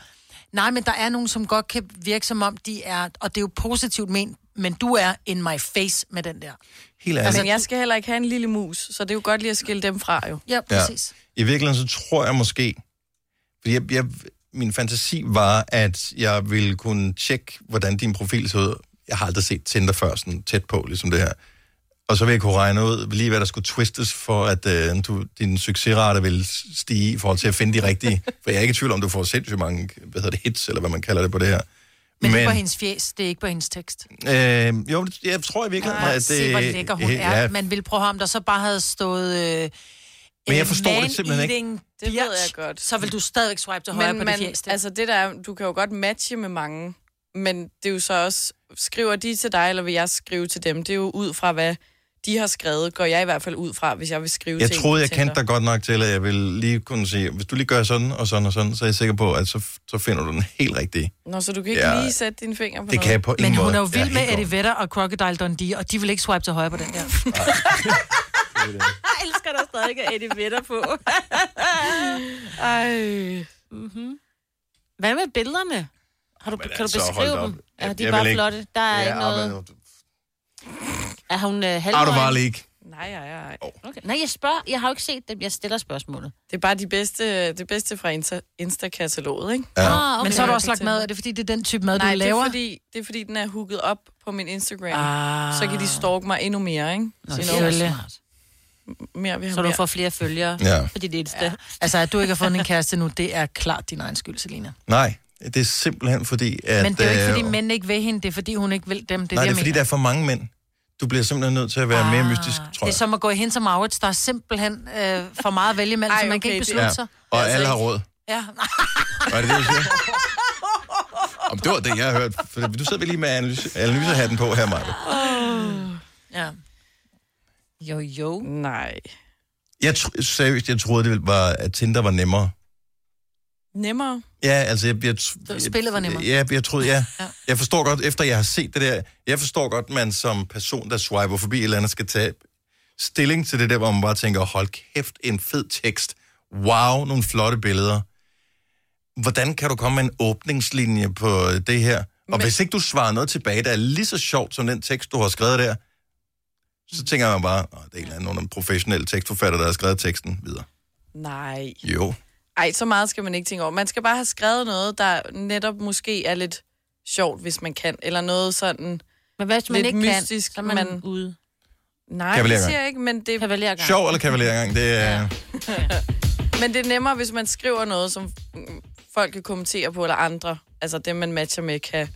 S3: Nej, men der er nogen, som godt kan virke som om, de er, og det er jo positivt ment, men du er in my face med den der.
S1: Helt ærligt.
S4: Altså, jeg skal heller ikke have en lille mus, så det er jo godt lige at skille dem fra, jo.
S3: Ja,
S1: I virkeligheden, så tror jeg måske... Fordi jeg, jeg, min fantasi var, at jeg ville kunne tjekke, hvordan din profil så ud. Jeg har aldrig set Tinder før sådan tæt på, ligesom det her. Og så ville jeg kunne regne ud lige, hvad der skulle twistes, for at øh, du, din succesrate ville stige i forhold til at finde de
S3: [LAUGHS]
S1: rigtige. For jeg er ikke i tvivl om, du får sindssygt mange hvad hedder det, hits, eller hvad man kalder det på det her.
S3: Men, men... det er på hendes fjes, det er ikke på hendes tekst.
S1: Øh, jo, det- jeg tror i virkeligheden,
S3: Nej,
S1: at det...
S3: se, hvor lækker hun
S1: øh,
S3: er. Ja. Man ville prøve ham, der så bare havde stået... Øh,
S1: Men jeg forstår det simpelthen ikke.
S4: Det ved jeg godt.
S3: Så vil du stadigvæk swipe til højre
S4: Men
S3: på
S4: man,
S3: det fjeste.
S4: altså det der, er- du kan jo godt matche med mange, men det er jo så også, skriver de til dig, eller vil jeg skrive til dem? Det er jo ud fra, hvad de har skrevet, går jeg i hvert fald ud fra, hvis jeg vil skrive
S1: Jeg
S4: til en
S1: troede,
S4: på
S1: jeg kendte
S4: Tinder.
S1: dig godt nok til, at jeg ville lige kunne sige, hvis du lige gør sådan og sådan og sådan, så er jeg sikker på, at så, så finder du den helt rigtige.
S4: Nå, så du kan ikke
S1: Ja,
S4: ja, lige sætte dine fingre på
S1: det
S4: noget?
S1: kan jeg på ingen
S3: Men hun
S1: måde.
S3: er jo
S1: Ja,
S3: vild
S1: helt
S3: med
S1: klart.
S3: Eddie Vedder og Crocodile Dundee, og de vil ikke swipe til højre på den
S4: [LAUGHS]
S3: der.
S2: Jeg elsker dig stadig at [LAUGHS] Eddie Vedder
S3: [LAUGHS]
S2: på.
S4: Ej.
S2: Mm-hmm. Hvad med billederne? Har du, kan
S1: altså,
S2: du
S1: hold da
S2: beskrive
S1: op.
S2: dem?
S1: Jeg-
S2: Ja, de
S1: jeg
S2: er
S1: vil
S2: bare
S1: ikke-
S2: flotte. Der er
S1: Ja,
S2: ikke noget...
S1: men-
S2: Er hun øh,
S1: Out of
S2: halvøjen?
S1: our league.
S4: Nej, nej, nej.
S2: Okay. Nej, jeg spørger. Jeg har jo ikke set dem. Jeg stiller spørgsmålet.
S4: Det er bare de bedste, det bedste fra Insta- Insta-kataloget, ikke?
S2: Ja. Ah, okay.
S3: Men så har du også lagt mad. Er det, fordi det er den type mad,
S4: Nej,
S3: du laver?
S4: Det er, fordi, det er fordi, den er hooket op på min Instagram. Ah. Så kan de stalke mig endnu mere, ikke?
S3: Nå,
S4: Sige,
S3: selvfølgelig.
S4: Mere, vi har
S2: Så du
S4: mere.
S2: får flere følgere
S1: Ja.
S2: på dit Insta. Ja.
S3: Altså, at du ikke har fundet en kæreste nu, det er klart din egen skyld, Selina.
S1: Nej, det er simpelthen fordi, at...
S3: Men det er jo ikke, fordi
S1: øh,
S3: mænd ikke vil hende. Det er, fordi hun ikke vil dem. Det er
S1: nej,
S3: det,
S1: det
S3: jeg
S1: er fordi,
S3: mener.
S1: der er for mange mænd. Du bliver simpelthen nødt til at være ah, mere mystisk, tror
S3: Det er
S1: jeg.
S3: som at gå i hen som Maurits. Der er simpelthen øh, for meget at vælge imellem,
S4: Ej,
S3: så man
S4: okay,
S3: kan ikke
S4: det-
S3: beslutte
S1: ja.
S3: ja. sig. Altså
S1: Og alle har råd.
S3: Ja.
S1: Var det det, du siger? [LAUGHS] Om det var det, jeg har hørt. For du sidder vel lige med analyse, analysehatten på her, Maja.
S4: Ah.
S2: Oh.
S3: ja.
S2: Jo, jo.
S4: Nej.
S1: Jeg tr- seriøst, jeg troede, det var, at Tinder var nemmere.
S4: Nemmere.
S1: Ja, altså, jeg, jeg, tr-
S4: Så spillet var nemmere?
S1: Ja, jeg troede, ja.
S4: Ja.
S1: Jeg forstår godt, efter jeg har set det der, jeg forstår godt, man som person, der swiper forbi et eller andet, skal tage stilling til det der, hvor man bare tænker, hold kæft, en fed tekst. Wow, nogle flotte billeder. Hvordan kan du komme med en åbningslinje på det her? Og Men... hvis ikke du svarer noget tilbage, der er lige så sjovt som den tekst, du har skrevet der, så tænker man bare, "Nå, det er en eller anden under en professionel tekstforfatter, der har skrevet teksten videre.
S4: Nej.
S1: Jo.
S4: Ej, så meget skal man ikke tænke over. Man skal bare have skrevet noget, der netop måske er lidt sjovt, hvis man kan. Eller noget sådan
S2: Men hvad, hvis man
S4: lidt
S2: ikke kan,
S4: mystisk.
S2: så er man ude.
S4: Nej, det
S1: Kavalergang.
S4: siger jeg ikke, men det...
S2: Kavalergang.
S1: Sjov eller kavalergang, det er... Ja.
S4: Men det er nemmere, hvis man skriver noget, som mm, folk kan kommentere på, eller andre. Altså det, man matcher med, kan...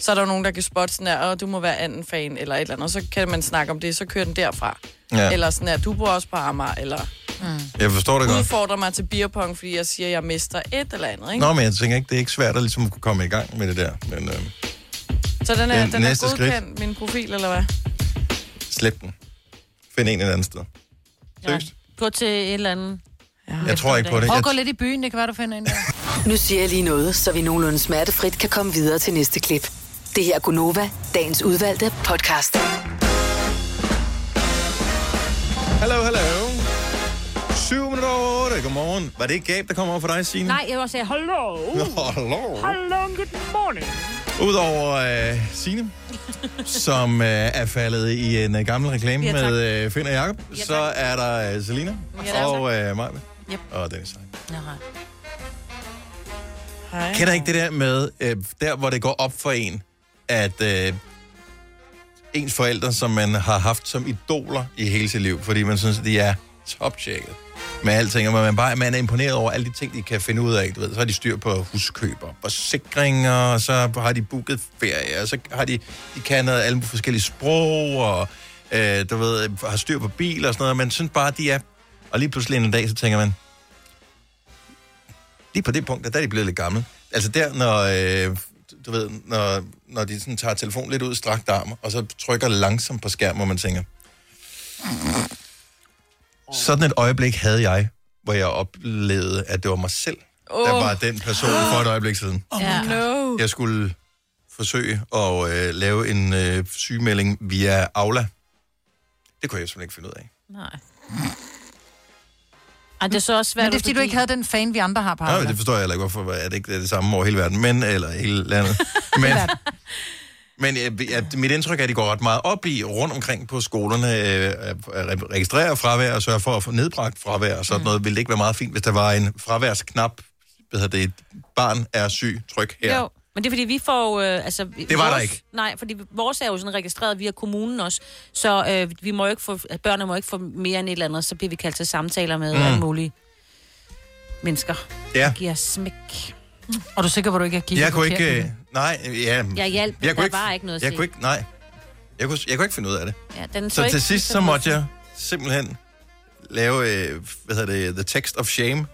S4: Så er der jo nogen, der kan spotte sådan her, "Åh, du må være anden fan, eller et eller andet. Og så kan man snakke om det, så kører den derfra.
S1: Ja.
S4: Ja. Eller sådan her, du bor også på Amager, eller... Mm.
S1: Jeg forstår det godt.
S4: Udfordrer mig til beerpong, fordi jeg siger, at jeg mister et eller andet, ikke?
S1: Nå, men jeg tænker ikke, det er ikke svært at ligesom kunne komme i gang med det der. Men øh,
S4: Så den er,
S1: Det
S4: den er
S1: næste skridt.
S4: godkendt, min profil, eller hvad?
S1: slet den. Find en et andet sted. Seriøst?
S2: Gå til et eller andet.
S1: Ja. Jeg tror ikke på det.
S3: Prøv
S1: Jeg,
S3: at gå lidt i byen, det kan være, du finder en der.
S5: Nu siger jeg lige noget, så vi nogenlunde smertefrit kan komme videre til næste klip. Det her er Gunova, dagens udvalgte podcast.
S1: Hallo, hallo. 7 minutter over 8. Godmorgen. Var det ikke Gab, der kom over for dig, Signe?
S2: Nej, jeg vil sige, hallo.
S1: Hallo.
S2: Hallo, good morning.
S1: Udover øh, Signe, som øh, er faldet i en øh, gammel reklame
S2: Ja,
S1: ja,
S2: tak.
S1: med øh, Finn og Jacob, ja, så er der øh, Selina
S4: Ja, tak.
S1: ja, og øh, Maja.
S3: Yep.
S1: Og Dennis. Hej.
S4: Hej.
S1: Kender ikke det der med, øh, der hvor det går op for en, at øh, ens forældre, som man har haft som idoler i hele sit liv, fordi man synes, at de er toptjekket med alting, og man, bare, man er imponeret over alle de ting, de kan finde ud af. Du ved, så har de styr på huskøber, forsikringer, og så har de booket ferie, og så har de, de kan noget, alle forskellige sprog, og øh, du ved, har styr på biler og sådan noget, men synes bare, de er... Og lige pludselig en dag, så tænker man, lige på det punkt, der der er de blevet lidt gamle. Altså der, når, øh, du ved, når, når de sådan tager telefonen lidt ud i strakt arm, og så trykker langsomt på skærmen, hvor man tænker, sådan et øjeblik havde jeg, hvor jeg oplevede, at det var mig selv, der
S4: Åh.
S1: var den person for et øjeblik siden.
S4: Oh ja. no.
S1: Jeg skulle forsøge at øh, lave en øh, sygemelding via Aula. Det kunne jeg simpelthen ikke finde ud af.
S2: Nej. Ej, det er så også svært.
S3: Men det er, fordi du ikke havde den fan, vi andre har på
S1: Nej,
S3: Arla.
S1: det forstår jeg heller ikke. Hvorfor er det ikke det samme over hele verden? Men, eller
S2: [LAUGHS]
S1: hele landet. Men, men jeg, jeg, mit indtryk er, at de går ret meget op i rundt omkring på skolerne, øh, at re- registrere fravær og sørge for at få nedbragt fravær og
S2: Mm.
S1: sådan noget. Ville det ikke være meget fint, hvis der var en fraværsknap? Hvad hedder det? Et barn er syg. Tryk her.
S2: Jo, men det er fordi, vi får... Øh, altså,
S1: Det var der ikke.
S2: Nej, fordi vores er jo sådan registreret via kommunen også, så øh, vi må jo ikke få, børnene må ikke få mere end et eller andet, så bliver vi kaldt til samtaler med
S1: Mm.
S2: mm. alle mulige mennesker.
S1: Ja.
S2: Giver smæk.
S3: Og du er sikker på, at du ikke har kigget
S1: Jeg
S3: på
S1: kunne ikke...
S3: kirken?
S1: øh, Nej, ja.
S2: Jeg hjalp, men
S1: jeg kunne
S2: der
S1: ikke,
S2: var ikke noget at
S1: jeg
S2: se.
S1: kunne ikke, nej. Jeg kunne, jeg kunne ikke finde ud af det.
S2: Ja, den
S1: Så
S2: ikke
S1: til sidst, så
S2: den-
S1: måtte jeg simpelthen lave, øh, hvad hedder det, The Text of Shame,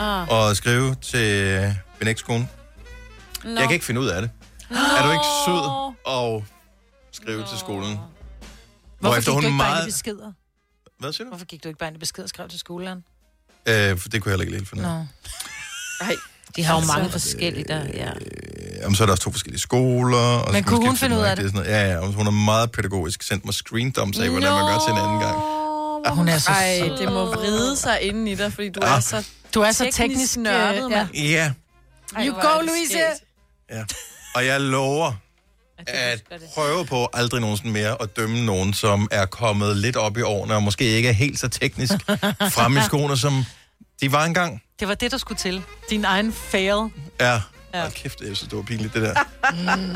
S2: Ah.
S1: og skrive til min ekskone. No. Jeg kan ikke finde ud af det. No. Er du ikke sød og skrive no. til skolen?
S3: Hvorfor
S1: Hvorefter
S3: gik
S1: hun
S3: du ikke bare ind i
S1: meget...
S3: beskeder?
S1: Hvad siger du?
S3: Hvorfor gik du ikke bare ind i beskeder og skrev til skolelæreren?
S1: Øh, for det kunne jeg heller ikke helt finde ud af.
S3: Nå.
S4: Nej.
S2: De har jo
S3: Altså,
S2: mange forskellige der, ja.
S1: Jamen, så er der også to forskellige skoler. Og
S2: Men
S1: så
S2: kunne hun
S1: skifte
S2: finde ud af
S1: rigtige og sådan noget. Ja, ja, og hun er meget pædagogisk. Sendt mig screendumps af, hvordan man gør til en anden gang.
S3: Og hun er så
S4: Ej,
S3: sød.
S4: det må vride sig inden i dig, fordi du
S1: Ah.
S4: er så
S3: Du er så teknisk, øh,
S4: nørdet,
S3: ja.
S4: mand.
S1: Ja,
S4: Ej,
S3: You
S4: hvor
S3: go,
S4: er det
S3: Louise!
S4: skægt.
S1: og jeg lover, at prøve på aldrig nogensinde mere at dømme nogen, som er kommet lidt op i årene, og måske ikke er helt så
S3: [LAUGHS]
S1: teknisk fremme i skoene, som de var engang.
S3: Det var det, der skulle til. Din egen fail.
S1: Ja,
S3: Ja.
S1: Hold kæft, jeg synes, det var pinligt, det der.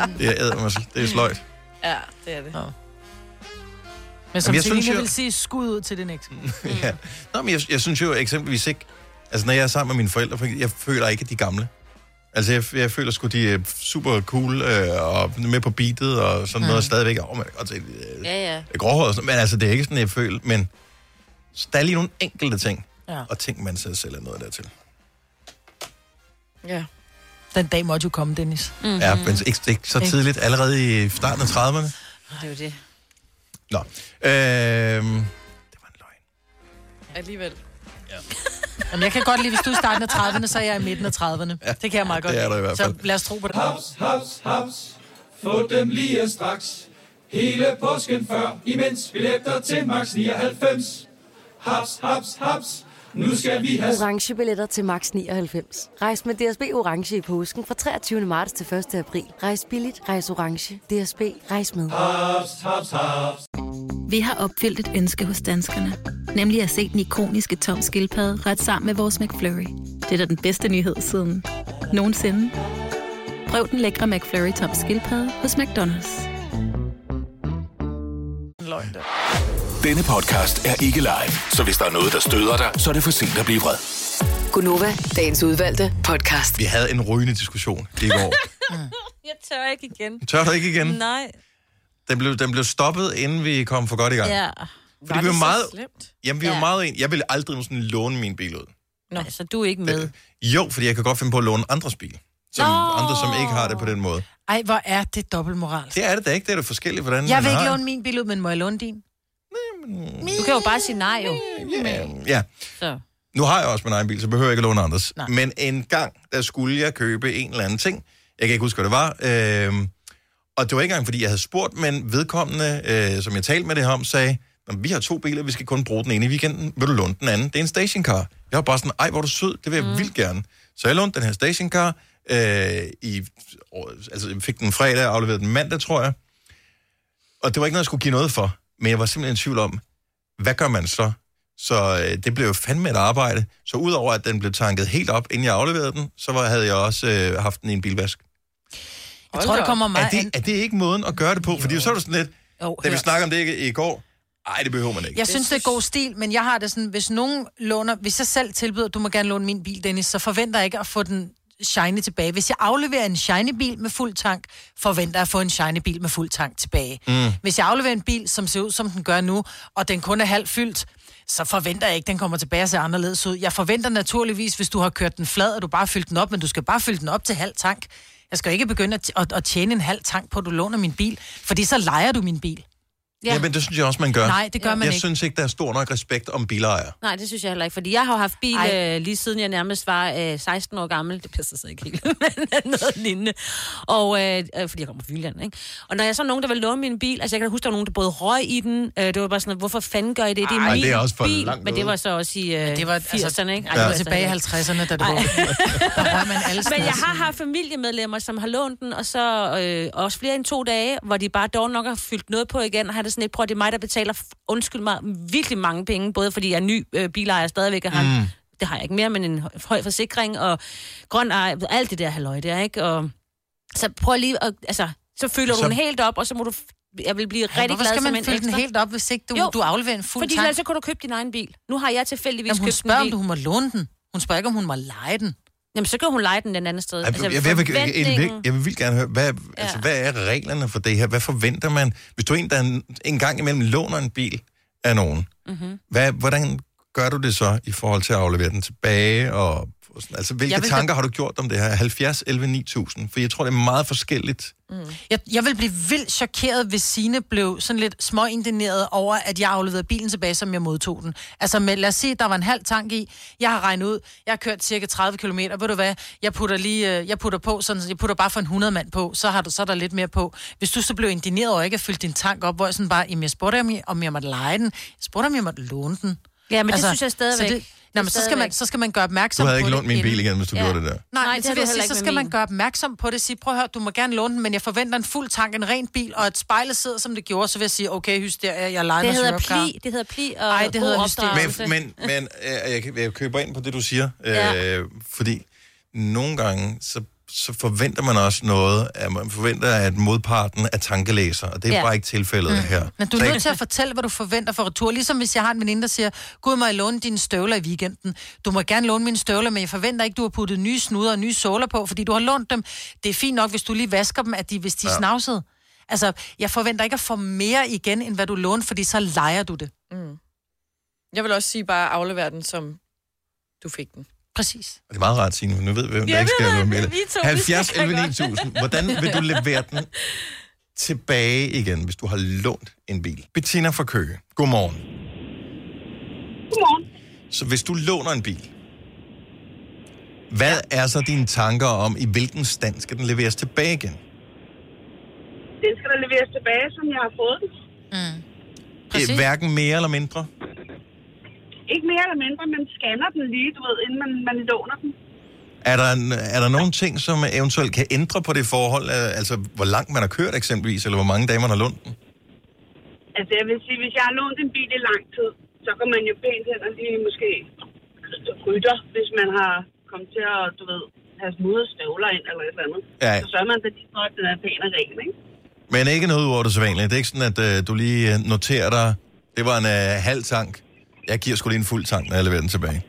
S3: Mm.
S1: Det er ædermøssel.
S3: [LAUGHS]
S1: Det er sløjt.
S4: Ja, det er det.
S3: Ja. Men
S1: Jamen,
S3: som
S1: jeg
S3: jeg
S1: synes
S3: synes,
S1: jo-
S3: vil sige, skud ud til din ekskone.
S1: [LAUGHS] Ja. Nå, men jeg, jeg synes jo eksempelvis ikke... Altså, når jeg er sammen med mine forældre, for eksempel, jeg føler ikke, at de er gamle. Altså, jeg, jeg føler sgu, de er super cool øh, og med på beatet og sådan mm. noget stadigvæk. Åh, oh, man kan godt se, øh,
S2: Ja, ja.
S1: gråhåret og sådan Men altså, det er ikke sådan, jeg føler. Men så der er lige nogle enkelte ting,
S3: Ja.
S1: og ting, man selv selv er noget dertil.
S4: Ja.
S3: Den dag måtte jo komme, Dennis.
S1: Mm-hmm. Ja, men ikke, ikke så
S3: Mhm. Ikke?
S1: tidligt, allerede i starten af 30'erne.
S2: Det er jo det.
S1: Nå. Øhm,
S4: Alligevel.
S3: Jamen, jeg kan godt lide, hvis du er i starten af 30'erne, så er jeg i midten af 30'erne. Ja, det kan jeg meget godt
S12: det er du i
S3: lide.
S12: hvert
S3: Så
S12: fald.
S3: lad os tro på det.
S12: Haps, haps, haps. Få dem lige straks. Hele påsken før, imens billetter til max 99. Haps, haps, haps. Nu skal vi have...
S16: Orange billetter til max 99. Rejs med DSB Orange i påsken fra 23. marts til 1. april. Rejs billigt, rejs orange. DSB, rejs med.
S12: Haps, haps, haps.
S17: Vi har opfyldt et ønske hos danskerne. Nemlig at se den ikoniske tom skildpadde ret sammen med vores McFlurry. Det er da den bedste nyhed siden nogensinde. Prøv den lækre McFlurry tom skildpadde hos McDonald's.
S19: Denne podcast er ikke live, så hvis der er noget, der støder dig, så er det for sent at blive vred.
S5: Gunova, dagens udvalgte podcast.
S1: vi havde en rygende diskussion
S3: [LAUGHS]
S1: i går.
S2: [LAUGHS] Jeg tør ikke igen.
S1: Tør du ikke igen?
S2: Nej.
S1: Den blev, den blev stoppet, inden vi kom for godt i gang.
S2: Ja.
S1: Fordi vi var meget...
S4: slemt?
S1: Jamen, vi ja. var meget en... Jeg ville aldrig sådan låne min bil ud.
S2: Nå. Altså, du er ikke med.
S1: Jo, fordi jeg kan godt finde på at låne andres bil. Som
S3: Nå.
S1: andre, som ikke har det på den måde.
S3: Ej, hvor er det dobbeltmoral.
S1: Det er det da ikke. Det er da forskelligt, hvordan
S3: Jeg
S1: man
S3: vil ikke
S1: har
S3: låne min bil ud, men må jeg låne din?
S2: Du kan jo bare sige nej, jo.
S1: det. Ja.
S2: Så.
S1: Nu har jeg også min egen bil, så behøver jeg ikke at låne andres.
S2: Nej.
S1: Nej. Men en gang, der skulle jeg købe en eller anden ting. Jeg kan ikke huske, hvad det var. Øhm, og det var ikke engang, fordi jeg havde spurgt, men vedkommende, øh, som jeg talte med det her om, sagde, "Nå, vi har to biler, vi skal kun bruge den ene i weekenden. Vil du låne den anden? Det er en stationcar. Jeg var bare sådan, ej, hvor er du sød, det vil jeg mm. vildt gerne. Så jeg lånte den her stationcar. Øh, i, år- altså, jeg fik den fredag, afleverede den mandag, tror jeg. Og det var ikke noget, jeg skulle give noget for. Men jeg var simpelthen i tvivl om, hvad gør man så? Så øh, det blev jo fandme et arbejde. Så udover at den blev tanket helt op, inden jeg afleverede den, så var, havde jeg også øh, haft den i en bilvask.
S3: Jeg tror, det kommer
S1: er,
S3: meget
S1: det, er det ikke måden at gøre det på? Fordi så er det sådan lidt,
S3: Jo,
S1: da vi
S3: hør.
S1: snakkede om det ikke i går, nej, det behøver man ikke.
S3: Jeg synes, det er god stil, men jeg har det sådan, hvis nogen låner, hvis jeg selv tilbyder, du må gerne låne min bil, Dennis, så forventer jeg ikke at få den shiny tilbage. Hvis jeg afleverer en shiny bil med fuld tank, forventer jeg at få en shiny bil med fuld tank tilbage.
S20: Mm.
S3: Hvis jeg afleverer en bil, som ser ud, som den gør nu, og den kun er halvt fyldt, så forventer jeg ikke, at den kommer tilbage og ser anderledes ud. Jeg forventer naturligvis, hvis du har kørt den flad, og du bare har fyldt den op, men du skal bare fylde den op til halv tank. Jeg skal ikke begynde at, at, at tjene en halv tank på, at du låner min bil, fordi så leger du min bil.
S1: Ja. men det synes jeg også, man gør.
S3: Nej, det gør man
S1: jeg
S3: ikke.
S1: synes ikke, der er stor nok respekt om bilejere.
S2: Nej, det synes jeg heller ikke, fordi jeg har jo haft bil
S3: Ej.
S2: øh, lige siden jeg nærmest var øh, 16 år gammel. Det passer så ikke helt, [LAUGHS] men øh, noget lignende. Og, øh, øh, fordi jeg kommer fra Jylland, ikke? Og når jeg så nogen, der ville låne min bil, altså jeg kan da huske, der var nogen, der både røg i den. Øh, det var bare sådan, hvorfor fanden gør I det? Det er
S1: Ej,
S2: min
S1: det er også for
S2: bil.
S1: langt
S2: Men det
S1: ude.
S2: var så også i øh,
S3: det var,
S2: 80'erne, ikke?
S3: Ej, det var
S2: altså
S3: tilbage i
S2: heller ikke.
S3: 50'erne, da du var [LAUGHS] alle
S2: Men jeg
S3: steder.
S2: har haft familiemedlemmer, som har lånt den, og så øh, også flere end to dage, hvor de bare dog nok har fyldt noget på igen, og har det sådan et, prøv, at det er mig, der betaler, f- undskyld mig, virkelig mange penge, både fordi jeg er ny øh, bilejer stadigvæk, og har en,
S21: Mm.
S2: det har jeg ikke mere, men en hø- høj forsikring, og grøn ej, alt det der halløj der, ikke? Og, så prøv lige at, altså, så fylder så...
S3: Så-
S2: du den helt op, og så må du, f- jeg vil blive rigtig
S3: hvorfor
S2: glad
S3: skal
S2: som
S3: man
S2: en
S3: fylde den
S2: ekstra.
S3: helt op, hvis ikke du- du afleverer en fuld
S2: Fordi
S3: tank?
S2: ellers så kunne du købe din egen bil. Nu har jeg tilfældigvis
S3: Jamen, hun
S2: købt en
S3: spørger, om
S2: bil.
S3: du- hun må låne den. Hun spørger ikke, om hun må lege den.
S2: Jamen, så kan hun lege den den anden sted. Altså,
S1: Ej,
S3: Altså,
S1: jeg, jeg, jeg, vil, jeg, jeg, vil, jeg vil vildt gerne høre, hvad, ja. altså, hvad er reglerne for det her? Hvad forventer man? Hvis du er en, der en, en gang imellem låner en bil af nogen,
S3: Mhm.
S2: Mm-hmm.
S1: Hvad, hvordan gør du det så i forhold til at aflevere den tilbage? Og, og sådan, altså, hvilke
S3: Jeg vil da-
S1: tanker har du gjort om det her? 70, 11, 9000? For jeg tror, det er meget forskelligt.
S3: Jeg, jeg ville blive vildt chokeret, hvis Sine blev sådan lidt småindineret over, at jeg afleverede bilen tilbage, som jeg modtog den. Altså, med, lad os sige, der var en halv tank i. Jeg har regnet ud. Jeg har kørt cirka 30 km. Ved du hvad? Jeg putter, lige, øh, jeg putter på sådan, jeg putter bare for en 100 mand på, så har du så er der lidt mere på. Hvis du så blev indineret over ikke at fylde din tank op, hvor jeg sådan bare, jamen, jeg spurgte, om jeg, om jeg måtte lege den. Jeg spurgte, om jeg måtte låne den.
S2: Ja, men det synes jeg stadigvæk.
S3: så det, Nå, men så skal, man, så skal man gøre opmærksom
S1: Du
S3: på
S1: havde ikke
S3: det
S1: lånt min bil
S3: inden.
S1: igen, hvis du gjorde det der.
S3: Nej,
S2: Nej,
S3: Nej
S2: det
S3: så,
S2: havde
S3: vil
S2: du
S3: jeg sige,
S2: heller
S3: så
S2: ikke
S3: skal
S2: med
S3: man
S2: min.
S3: gøre opmærksom på det. Sige, prøv at høre, du må gerne låne den, men jeg forventer en fuld tank, en ren bil og et spejlet sidder, som det gjorde. Så vil jeg sige, okay, hysteria, jeg leger
S2: Det hedder pli, det hedder pli og
S3: Ej, det
S2: god
S3: hedder
S2: opdragelse.
S1: Men, men, men øh, jeg, kan- jeg køber ind på det, du siger, øh,
S2: Ja.
S1: fordi nogle gange, så, så forventer man også noget, at man forventer, at modparten er tankelæser, og det er
S3: Ja.
S1: ja. bare ikke tilfældet mm. her.
S3: Men du
S1: Så
S3: er
S1: jeg-
S3: nødt til at fortælle, hvad du forventer for retur. Ligesom hvis jeg har en veninde, der siger, Gud, må jeg låne dine støvler i weekenden. Du må gerne låne mine støvler, men jeg forventer ikke, du har puttet nye snuder og nye såler på, fordi du har lånt dem. Det er fint nok, hvis du lige vasker dem, at de, hvis de er
S1: Ja.
S3: snavsede. Altså, jeg forventer ikke at få mere igen, end hvad du lånte, fordi så leger du det.
S4: Mm. Jeg vil også sige bare aflevere den, som du fik den.
S3: Præcis.
S1: Det er meget rart, Signe, for nu ved vi, hvem
S4: Ja,
S1: der ikke
S4: vi
S1: skal
S4: ved,
S1: låne
S4: vi to, vi
S1: billedet.
S4: skal
S1: 70
S4: godt.
S1: 11 9000. Hvordan vil du levere den tilbage igen, hvis du har lånt en bil? Bettina fra Køge, godmorgen.
S20: Godmorgen.
S1: Så hvis du låner en bil, hvad er så dine tanker om, i hvilken stand skal den leveres tilbage igen?
S20: Den skal der leveres tilbage, som jeg har fået den.
S1: Præcis. Hverken mere eller mindre?
S20: Ikke mere eller mindre, men scanner den lige, du ved, inden man, man låner den.
S1: Er der, en- er der nogle ting, som eventuelt kan ændre på det forhold? øh, Altså, hvor langt man har kørt eksempelvis, eller hvor mange dage man har lånt den?
S20: Altså, jeg vil sige, hvis jeg har lånt en bil i lang tid, så kan man jo pænt hen og lige måske rytter, hvis man har kommet til at, du ved, have smudret støvler ind eller et eller andet.
S1: Ja.
S20: Så sørger man da lige for, at den er pæn og ren, ikke?
S1: Men ikke noget ud over det sædvanlige. Det er ikke sådan, at øh, du lige øh, noterer dig, det var en øh, halv tank. Jeg giver sgu lige en fuld tank, når jeg leverer den tilbage.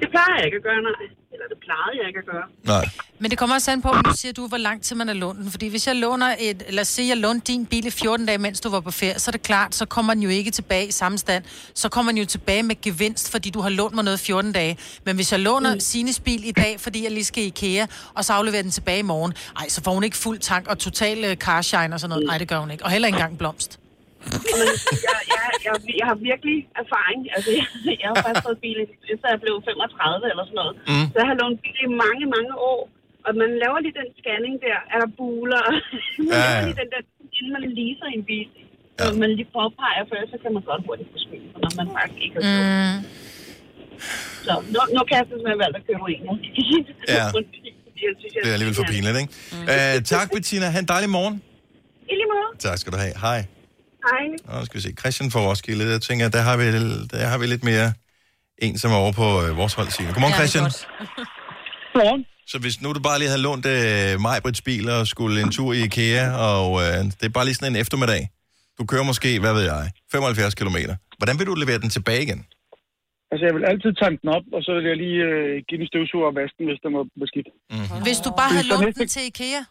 S20: Det plejer jeg ikke at gøre, nej. Eller det plejede jeg ikke at gøre.
S1: Nej.
S3: Men det kommer også an på, om du siger, du, hvor lang tid man har lånt den. Fordi hvis jeg låner et, lad os sige, jeg lånte din bil i 14 dage, mens du var på ferie, så er det klart, så kommer den jo ikke tilbage i samme stand. Så kommer den jo tilbage med gevinst, fordi du har lånt mig noget i 14 dage. Men hvis jeg låner mm. Sines bil i dag, fordi jeg lige skal i IKEA, og så afleverer den tilbage i morgen, ej, så får hun ikke fuld tank og total øh, carshine og sådan noget. Nej, det gør hun ikke. Og heller ikke engang blomst.
S20: Men jeg, jeg, jeg, jeg har virkelig erfaring. Altså, jeg, jeg har faktisk fået bil, efter jeg blev 35 eller sådan noget. Mm. Så jeg har lånt bil i mange, mange år. Og man laver lige den scanning der. Er der buler? [LAUGHS] man
S1: Ja,
S20: laver
S1: ja.
S20: lige den der, inden man leaser en bil. Ja. Så man lige påpeger, for ellers så kan man godt hurtigt få skyld, for når man faktisk ikke har gjort.
S3: Mm.
S20: Så nu, nu kan jeg sådan, at jeg valgte at købe en. [LAUGHS]
S1: Ja.
S20: Jeg synes, jeg
S1: Det er alligevel for pinligt, ikke? Øh, tak, Bettina. Ha' en dejlig morgen.
S20: I lige måde.
S1: Tak skal du have. Hej.
S20: Hej.
S1: Og nu skal vi se. Christian fra Roskilde. Jeg tænker, der har vi, der har vi lidt mere en, som er over på øh, vores hold. Signe. Godmorgen,
S21: Ja, det er
S1: Christian.
S21: [LAUGHS] Godmorgen.
S1: Så hvis nu du bare lige havde lånt øh, Majbrits bil og skulle en tur i IKEA, og øh, det er bare lige sådan en eftermiddag. Du kører måske, hvad ved jeg, 75 km. Hvordan vil du levere den tilbage igen?
S21: Altså, jeg vil altid tanke den op, og så vil jeg lige øh, give den støvsuger og vaske den, hvis den var beskidt. Mm-hmm.
S3: Hvis du bare havde lånt den til IKEA,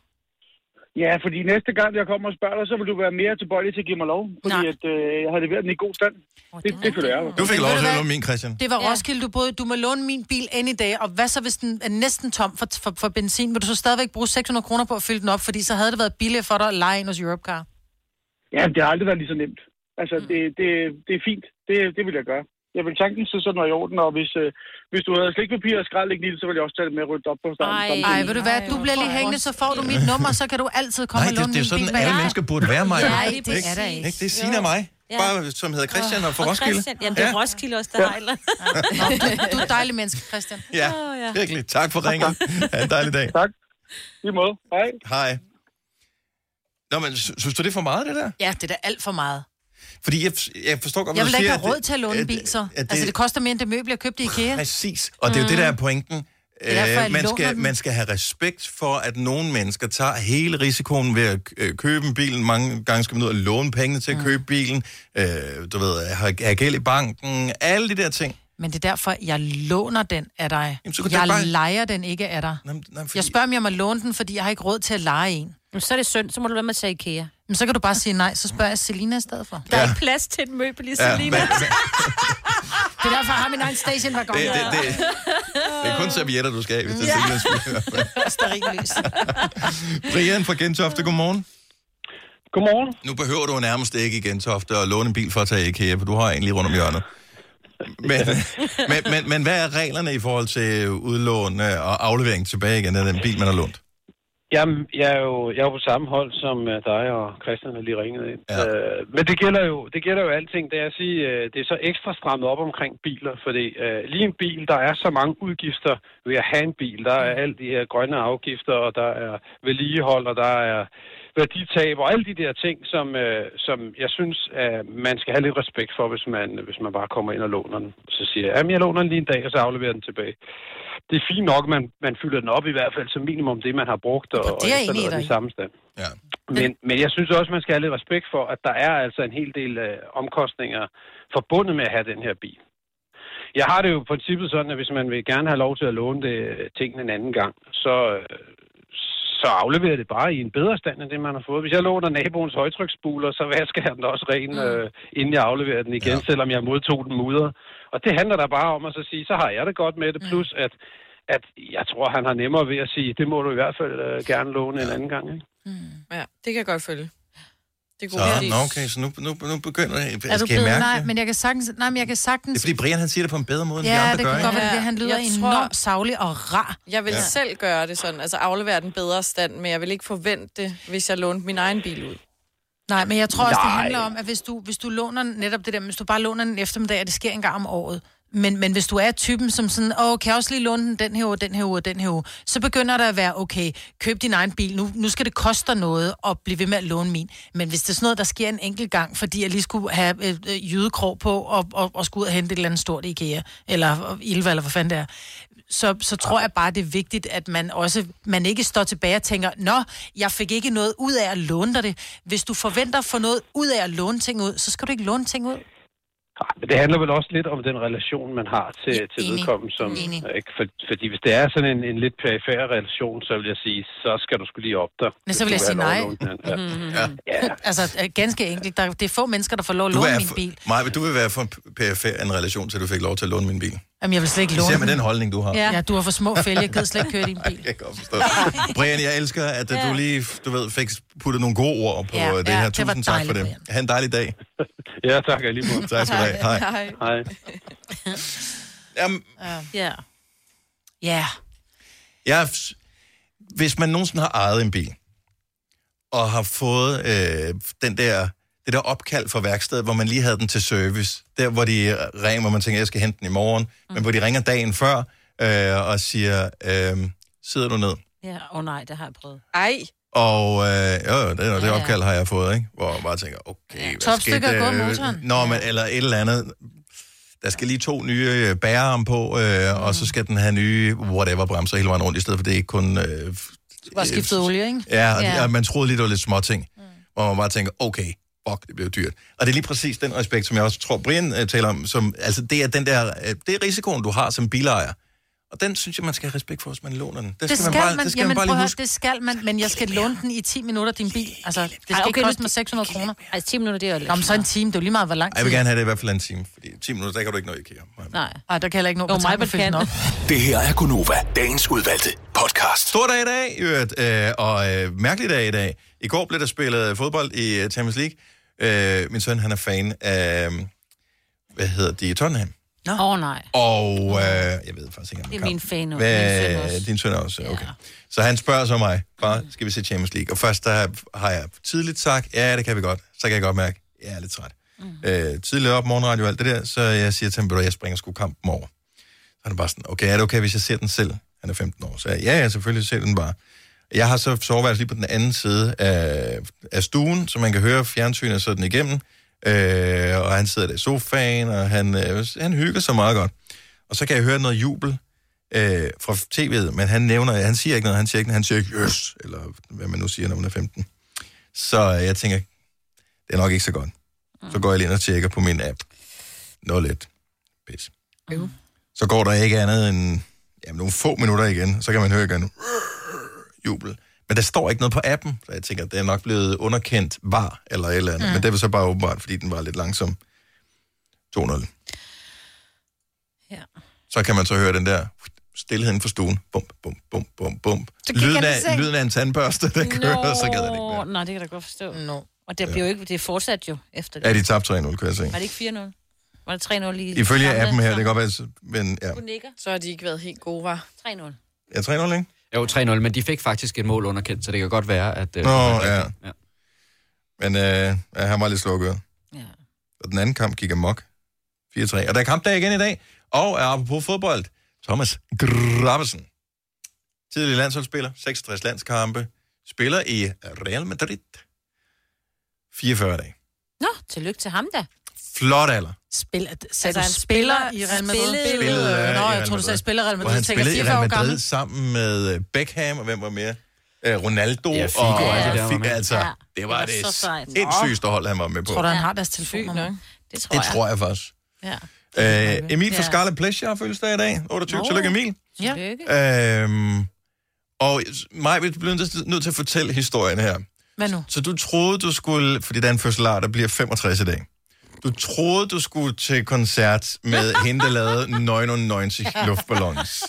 S21: Ja, fordi næste gang, jeg kommer og spørger dig, så vil du være mere tilbøjelig til at give mig lov, fordi at, øh, jeg har leveret den i god stand. Det, det kan du være.
S1: Du fik lov til at låne min, Christian.
S3: det var ja. Roskilde, du boede, du må låne min bil any day, og hvad så, hvis den er næsten tom for, for, for benzin? Vil du så stadigvæk bruge 600 kroner på at fylde den op, fordi så havde det været billigere for dig at lege ind hos Europcar?
S21: Ja, det har aldrig været lige så nemt. Altså, det, det, det er fint. Det, det vil jeg gøre. Jeg vil tanke den, så sådan var i orden, og hvis, øh, hvis du havde slikpapir og skrald ikke så ville jeg også tage det med og rydde op på starten.
S3: Ej,
S21: samtidig.
S3: Ej ved du hvad, du bliver lige hængende, så får du mit nummer, så kan du altid komme
S1: Nej,
S3: og
S1: det,
S3: låne
S1: det er jo
S3: min
S1: sådan,
S3: bil.
S1: alle mennesker burde være mig.
S3: Nej,
S1: ikke?
S3: det
S1: Ikke?
S3: er der ikke.
S1: Ikke? Det er Signe og mig.
S3: Jo.
S1: Bare, som hedder Christian og fra
S2: Og
S1: Roskilde.
S2: Christian. Jamen, det er Roskilde også, der har et eller andet.
S3: Du er et dejligt menneske, Christian.
S1: Ja,
S2: ja.
S1: virkelig. Tak for ringen. Ha' en dejlig dag.
S21: Tak. I måde. Hej.
S1: Hej. Nå, men sy- synes du, det er for meget, det der?
S3: Ja, det er da alt for meget.
S1: Fordi jeg, jeg forstår godt,
S3: Jeg
S1: hvad
S3: vil da
S1: du
S3: ikke
S1: siger.
S3: have
S1: at
S3: råd
S1: det-
S3: til at låne en bil, så.
S1: at det-
S3: Altså, det koster mere end det møbel, jeg købte i IKEA.
S1: Præcis, Og det er jo det, der er pointen.
S3: Mm. Det er derfor, jeg
S1: Øh, man,
S3: låner
S1: skal,
S3: den.
S1: man skal have respekt for, at nogle mennesker tager hele risikoen ved at øh, købe en bil. Mange gange skal man ud og låne pengene
S3: Mm.
S1: til at købe bilen. Øh, du ved, have have gæld i banken. Alle de der ting.
S3: Men det er derfor, jeg låner den af dig.
S1: så kan du
S3: jeg
S1: bare-
S3: leger den ikke af dig.
S1: Jamen, nej, fordi...
S3: Jeg spørger, om jeg må låne den, fordi jeg har ikke råd til at lege en.
S2: Jamen, så er det synd, så må du være med at tage IKEA.
S3: Men så kan du bare sige nej, så spørger jeg Selina i stedet for.
S2: Der er ikke plads til en møbel i
S1: Ja,
S2: Selina.
S1: men-
S3: Det er derfor, jeg har min egen station hver gang.
S1: Det- det- det-
S2: [LAUGHS]
S1: Det er kun servietter, du skal have, hvis det
S3: Ja.
S1: er ja.
S3: Stearinlys.
S1: Brian fra Gentofte, godmorgen.
S21: Godmorgen.
S1: Nu behøver du nærmest ikke i Gentofte at låne en bil for at tage IKEA, for du har en lige rundt om hjørnet. Men, men, men, men hvad er reglerne i forhold til udlån øh, og aflevering tilbage igen af den bil, man har lånt?
S7: Jamen, jeg er jo, jeg er jo på samme hold som øh, dig og Christian har lige ringet ind. Ja. Øh, men det gælder, jo, det gælder jo alting. Det er at sige, øh, det er så ekstra strammet op omkring biler, fordi øh, lige en bil, der er så mange udgifter ved at have en bil. Der er alle de her grønne afgifter, og der er vedligehold, og der er værditab, og alle de der ting, som, øh, som jeg synes, øh, man skal have lidt respekt for, hvis man, hvis man bare kommer ind og låner den. Så siger jeg, jamen jeg låner den lige en dag, og så afleverer jeg den tilbage. Det er fint nok, at man, man fylder den op i hvert fald som minimum det, man har brugt, og,
S3: det er jeg enig i
S7: efterlader den
S3: dig
S7: i samme stand.
S1: Ja.
S7: Men, men jeg synes også, man skal have lidt respekt for, at der er altså en hel del øh, omkostninger forbundet med at have den her bil. Jeg har det jo i princippet sådan, at hvis man vil gerne have lov til at låne det, øh, tingene en anden gang, så, øh, så afleverer det bare i en bedre stand, end det man har fået. Hvis jeg låner naboens højtryksbuler, så vasker jeg den også ren,
S3: Mm.
S7: øh, inden jeg afleverer den igen, ja. selvom jeg modtog den mudder. Og det handler da bare om at så sige, så har jeg det godt med
S3: Mm.
S7: det, plus at, at jeg tror, han har nemmere ved at sige, det må du i hvert fald øh, gerne låne en anden gang. Ikke?
S4: Ja, det kan jeg godt følge. Det er
S1: Så,
S4: god værdi.
S1: nå, okay, så nu, nu, nu begynder det.
S3: Er du
S1: Skal I
S3: blevet?
S1: mærke
S3: Nej,
S1: det?
S3: men jeg kan sagtens... Nej, men jeg kan
S1: Det er
S3: sagtens...
S1: fordi Brian, han siger det på en bedre måde, end
S3: ja,
S1: vi andre
S3: det
S1: gør.
S3: kan godt
S1: ikke?
S3: være, det er, han lyder
S4: Jeg tror-
S3: enormt savlig og rar.
S4: Jeg vil
S1: Ja.
S4: ja. selv gøre det sådan, altså aflevere den bedre stand, men jeg vil ikke forvente det, hvis jeg lånte min egen bil ud.
S3: Nej, men jeg tror også, det
S4: Nej.
S3: handler om, at hvis du, hvis du låner den- netop det der, hvis du bare låner den en eftermiddag, og det sker en gang om året, men, men hvis du er typen som sådan, åh, kan jeg også lige låne den den her uge, den her uge, den her uge, så begynder der at være, okay, køb din egen bil, nu, nu skal det koste dig noget at blive ved med at låne min. Men hvis det er sådan noget, der sker en enkelt gang, fordi jeg lige skulle have øh, øh, jydekrog på og, og, og skulle ud og hente et eller andet stort i IKEA, eller Ilva, eller hvad fanden det er, så, så tror jeg bare, det er vigtigt, at man også man ikke står tilbage og tænker, nå, jeg fik ikke noget ud af at låne dig det. Hvis du forventer at få noget ud af at låne ting ud, så skal du ikke låne ting ud.
S7: Men det handler vel også lidt om den relation, man har til, ja, til vedkommende. Som, øh,
S3: Enig.
S7: ikke? For, fordi hvis det er sådan en, en lidt perifær relation, så vil jeg sige, så skal du skulle lige op der.
S3: Men så
S7: hvis
S3: vil jeg
S7: du
S3: sige
S7: have lov
S3: nej.
S7: at låne den. Ja.
S3: Ja. [LAUGHS] altså, øh, ganske enkelt. Der, det er få mennesker, der får lov at
S1: Du
S3: låne
S1: er
S3: min
S1: for,
S3: bil.
S1: Maja, vil du vil være for PFR en relation til, at du fik lov til at låne min bil.
S3: Jamen, jeg vil slet ikke
S1: Især
S3: låne
S1: med den holdning, du har.
S3: Ja. ja, du har for små fælge. Jeg gider slet ikke køre
S1: [LAUGHS]
S3: din bil.
S1: Jeg kan godt forstå. Brian, jeg elsker, at ja. du lige du ved, fik puttet nogle gode ord på
S3: Ja,
S1: ja, det
S3: ja,
S1: her.
S3: det var
S1: Tusind tak for
S3: dejligt,
S1: det. Ha' en dejlig dag.
S7: [LAUGHS] ja, tak alligevel.
S1: Tak skal du have. Hej. Hej.
S7: Hej.
S1: Jamen,
S2: Ja.
S3: Ja.
S1: jeg, hvis man nogensinde har ejet en bil, og har fået øh, den der, det der opkald fra værkstedet, hvor man lige havde den til service, der hvor de ringer, hvor man tænker, jeg skal hente den i morgen, mm. men hvor de ringer dagen før øh, og siger, øh, sidder du ned?
S2: Ja, åh oh, nej, det har jeg prøvet.
S4: Ej.
S1: Og øh, jo, jo, det, det ja, opkald har jeg fået, ikke? Hvor man bare tænker, okay, ja. hvad
S2: Topstykker
S1: skete
S2: er gået
S1: der?
S2: motoren.
S1: Nå, men, eller et eller andet. Der skal lige to nye øh, bærearm på, øh, og så skal den have nye whatever-bremser hele vejen rundt, i stedet for det er ikke kun... Øh,
S3: Bare skiftet olie, ikke?
S1: ja, og, ja, og man troede lige, det var lidt småting. Mm. Hvor man bare tænker, okay, fuck, det bliver dyrt. Og det er lige præcis den respekt, som jeg også tror, Brian øh, taler om, som, altså det er den der, øh, det er risikoen, du har som bilejer. Og den synes jeg, man skal have respekt for, hvis man låner den.
S3: Det skal man,
S1: bare, det skal
S3: jamen,
S1: man
S3: prøv
S1: bare lige
S3: at høre,
S1: huske.
S3: det skal man, men jeg skal låne den i 10 minutter, din bil. Altså, det skal
S2: Ej, okay,
S3: okay, ikke
S2: nu-
S3: koste mig 600 kroner.
S2: Altså, 10 minutter, det er jo lidt
S3: Jamen, så en time, det er jo lige meget, hvor lang tid.
S1: Jeg vil gerne have det i hvert fald en time, fordi 10 minutter, der kan du ikke nå i IKEA.
S2: Nej.
S3: Ej, der kan heller ikke nå på tanken at fylde den op.
S19: Det her er Gunova, dagens udvalgte podcast.
S1: Stor dag i dag, i øvrigt, øh, og øh, mærkelig dag i dag. I går blev der spillet fodbold i øh, Champions League. Øh, min søn, han er fan af, øh, hvad hedder de, Tottenham.
S2: Nå. Åh oh, nej,
S1: Og øh, jeg ved faktisk ikke, om
S2: det er min
S1: [LAUGHS]
S2: fan også. Min søn
S1: Hvad,
S2: også.
S1: din søn også, okay. Så han spørger så mig, far, skal vi se Champions League? Og først der har jeg tidligt sagt, ja, det kan vi godt. Så kan jeg godt mærke, jeg er lidt træt. Mm. Øh, tidligere op, morgenradio og alt det der, så jeg siger til ham, "Ved du hvad, jeg springer sgu kampen over. Så han er bare sådan, okay, er det okay, hvis jeg ser den selv? Han er 15 år, så jeg, ja, ja, selvfølgelig ser den bare. Jeg har så soveværelse lige på den anden side af, af stuen, så man kan høre fjernsynet sådan igennem. Øh, og han sidder der i sofaen, og han, øh, han hygger sig meget godt. Og så kan jeg høre noget jubel øh, fra tv'et, men han nævner, han siger ikke noget, han siger ikke noget, han siger ikke, yes, eller hvad man nu siger, når man er 15. Så øh, jeg tænker, det er nok ikke så godt. Så går jeg lige ind og tjekker på min app. Nå lidt. Pis.
S4: Øv.
S1: Så går der ikke andet end jamen, nogle få minutter igen, så kan man høre igen jubel. Men der står ikke noget på appen, så jeg tænker, det er nok blevet underkendt var eller et eller andet. Mm. Men det var så bare åbenbart, fordi den var lidt langsom. 2-0.
S2: Ja.
S1: Så kan man så høre den der stillhed inden for stuen. Bum, bum, bum, bum, bum.
S2: Så gik
S1: Lyden
S2: han i
S1: af,
S2: seng.
S1: lyden af en tandbørste, [LAUGHS] der kører,
S2: Nå,
S1: så gad jeg det ikke.
S2: Nej, det kan jeg da godt forstå.
S3: No.
S2: Og det, bliver jo ikke, det er fortsat jo efter det.
S1: Ja, de tabte 3-0, kunne jeg se.
S2: Var det ikke 4-0? Var det 3-0 lige?
S1: Ifølge
S2: Gamle?
S1: appen her, det kan godt være, men ja.
S2: Du nikker.
S4: Så har de ikke været helt gode, var.
S2: 3-0.
S1: Ja, 3-0, ikke?
S8: Jo, 3-0, men de fik faktisk et mål underkendt, så det kan godt være, at... Øh,
S1: Nå,
S8: at-
S1: ja. Men øh, ja, han var lidt slukket. Ja. Og den anden kamp gik amok. 4-3. Og der er kampdag igen i dag. Og er apropos fodbold, Thomas Gravesen. Tidligere landsholdsspiller, 66 landskampe. Spiller i Real Madrid. 44 dage.
S2: Nå, tillykke til ham da.
S1: Flot alder.
S3: Spil, sagde
S2: Altså,
S3: altså,
S2: han
S3: du spiller i
S2: spiller-
S3: Real Madrid?
S2: spillede-
S1: Spillede, øh, i
S3: Nå,
S1: Real
S3: jeg tror, du
S1: Madrid.
S3: sagde spiller i Real
S1: Hvor
S3: Madrid.
S1: han
S3: Tænker,
S1: spillede i
S3: fire
S1: Real
S3: år
S1: Madrid
S3: gammel.
S1: sammen med øh, Beckham, og hvem var mere? Øh, Ronaldo
S8: Ja, Figo
S1: og
S8: og alle de der var
S1: Figo,
S8: med.
S1: altså,
S8: Ja,
S1: det var det,
S2: så sejt.
S1: det sygeste hold, han var med på.
S3: Tror du, han har deres telefonnummer?
S2: Det tror
S1: det tror jeg faktisk.
S3: Ja.
S1: Øh, Emil fra
S3: Ja.
S1: Scarlet Pleasure har fødselsdag i dag, 28.
S3: Nå.
S1: Tillykke, Emil.
S3: Ja.
S1: Øhm, og mig vi bliver nødt- nødt til at fortælle historien her.
S3: Hvad nu?
S1: Så du troede, du skulle... Fordi der er en fødselar, der bliver 65 i dag. Du troede, du skulle til koncert med hende, der lavede oh 99
S2: [LAUGHS]
S1: luftballons.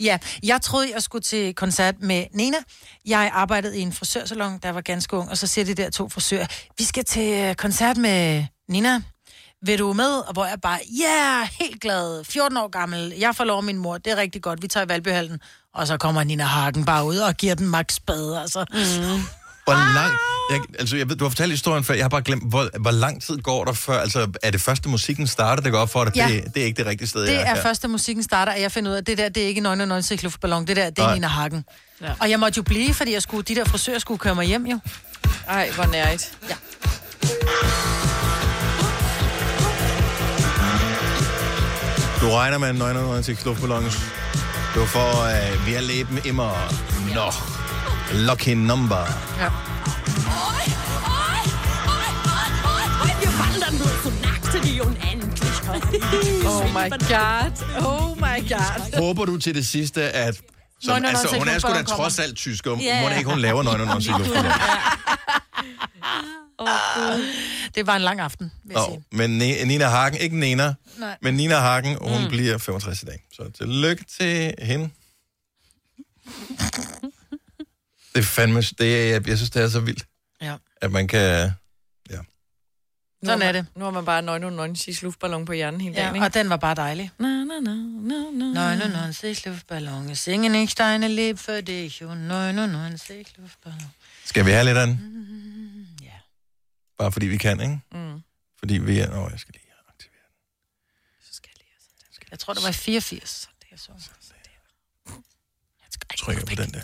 S3: Ja, jeg troede, jeg skulle til koncert med Nina. Jeg arbejdede i en frisørsalon, der var ganske ung, og så siger de der to frisører, vi skal til øh, koncert med Nina. Vil du med? Og hvor jeg bare, ja, yeah, helt glad, 14 år gammel, jeg får lov af min mor, det er rigtig godt, vi tager i Valbyhallen. Og så kommer Nina Hagen bare ud og giver den max spade, altså. Mm.
S1: Hvor lang... Jeg, altså, jeg ved, du har fortalt historien før, jeg har bare glemt, hvor, hvor lang tid går der før? Altså, er det første musikken starter, det går op for dig?
S3: Ja.
S1: Det, det er ikke det rigtige sted, jeg
S3: Det er
S1: her.
S3: første musikken starter, at jeg finder ud af, at det der, det er ikke 99 luftballon, det der, det er
S1: Nej.
S3: Nina Hagen. Ja. Og jeg måtte jo blive, fordi jeg skulle, de der frisører skulle køre mig hjem jo.
S4: Ej, hvor nært.
S3: Ja.
S1: Du regner med 99 luftballons. Du får, øh, vi har lebt immer noch. Lucky number.
S3: Ja.
S2: Wir wandern nur so nackt in die Unendlichkeit.
S4: [LAUGHS] Oh my god. Oh my god.
S1: Håber du til det sidste, at... Som,
S4: 99
S1: altså, hun er sgu da
S4: luftballon
S1: trods
S4: kommer.
S1: alt tysk, og
S4: Ja.
S1: yeah. må da ikke, hun laver 99
S3: [LAUGHS]
S4: [LAUGHS]
S1: luftballons.
S3: Det var en lang aften, vil jeg
S1: Nå, men Ne- Nina Hagen, ikke Nena,
S3: Nej.
S1: men Nina Hagen, hun mm. bliver 65 i dag. Så tillykke til
S3: [LAUGHS]
S1: hende. Det er fandme, det er, jeg, jeg synes, det er så vildt,
S3: Ja.
S1: at man kan...
S3: Sådan er det.
S4: Nu har man bare 99 luftballon på hjernen hele dagen,
S3: Ja,
S4: ikke?
S3: og den var bare dejlig.
S4: Na, na, na, na, na.
S3: 99 Luftballon, singen ich deine Liebe für dich und 99 Luftballon.
S1: Skal vi have lidt
S3: [LAUGHS]
S1: af den? Mm, Bare fordi vi kan, ikke?
S3: Mm.
S1: Fordi vi er... Nå, jeg skal lige...
S3: Jeg tror, det var i 84. Det er så.
S1: Jeg trykker på den der.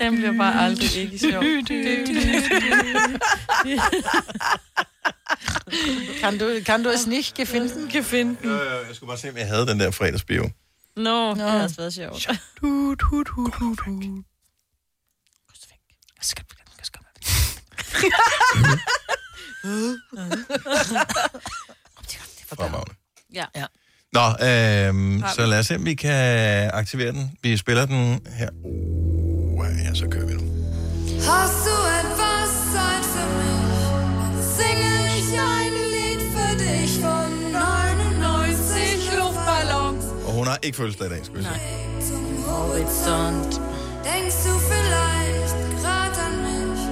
S4: Den bliver bare aldrig
S3: [LAUGHS]
S4: ikke sjov.
S3: Kan du, kan du es nicht gefinden? [LAUGHS]
S4: Gefinden.
S1: Øh, Jeg skulle bare se, om jeg havde den der fredagsbio.
S2: Nå, det har også været sjovt.
S4: Du, du, du, du, du.
S1: Fremragende.
S2: Ja.
S3: ja.
S1: Nå, øhm, så lad os se, om vi kan aktivere den. Vi spiller den her. Oh, ja, så kører vi nu.
S22: Hast du etwas Zeit für mich? Dann Singe ich ein Lied für dich von 99 Luftballons
S1: Og hun har ikke fødselsdag i dag, skal vi se.
S22: zum Horizont. Denkst du vielleicht grad an mich?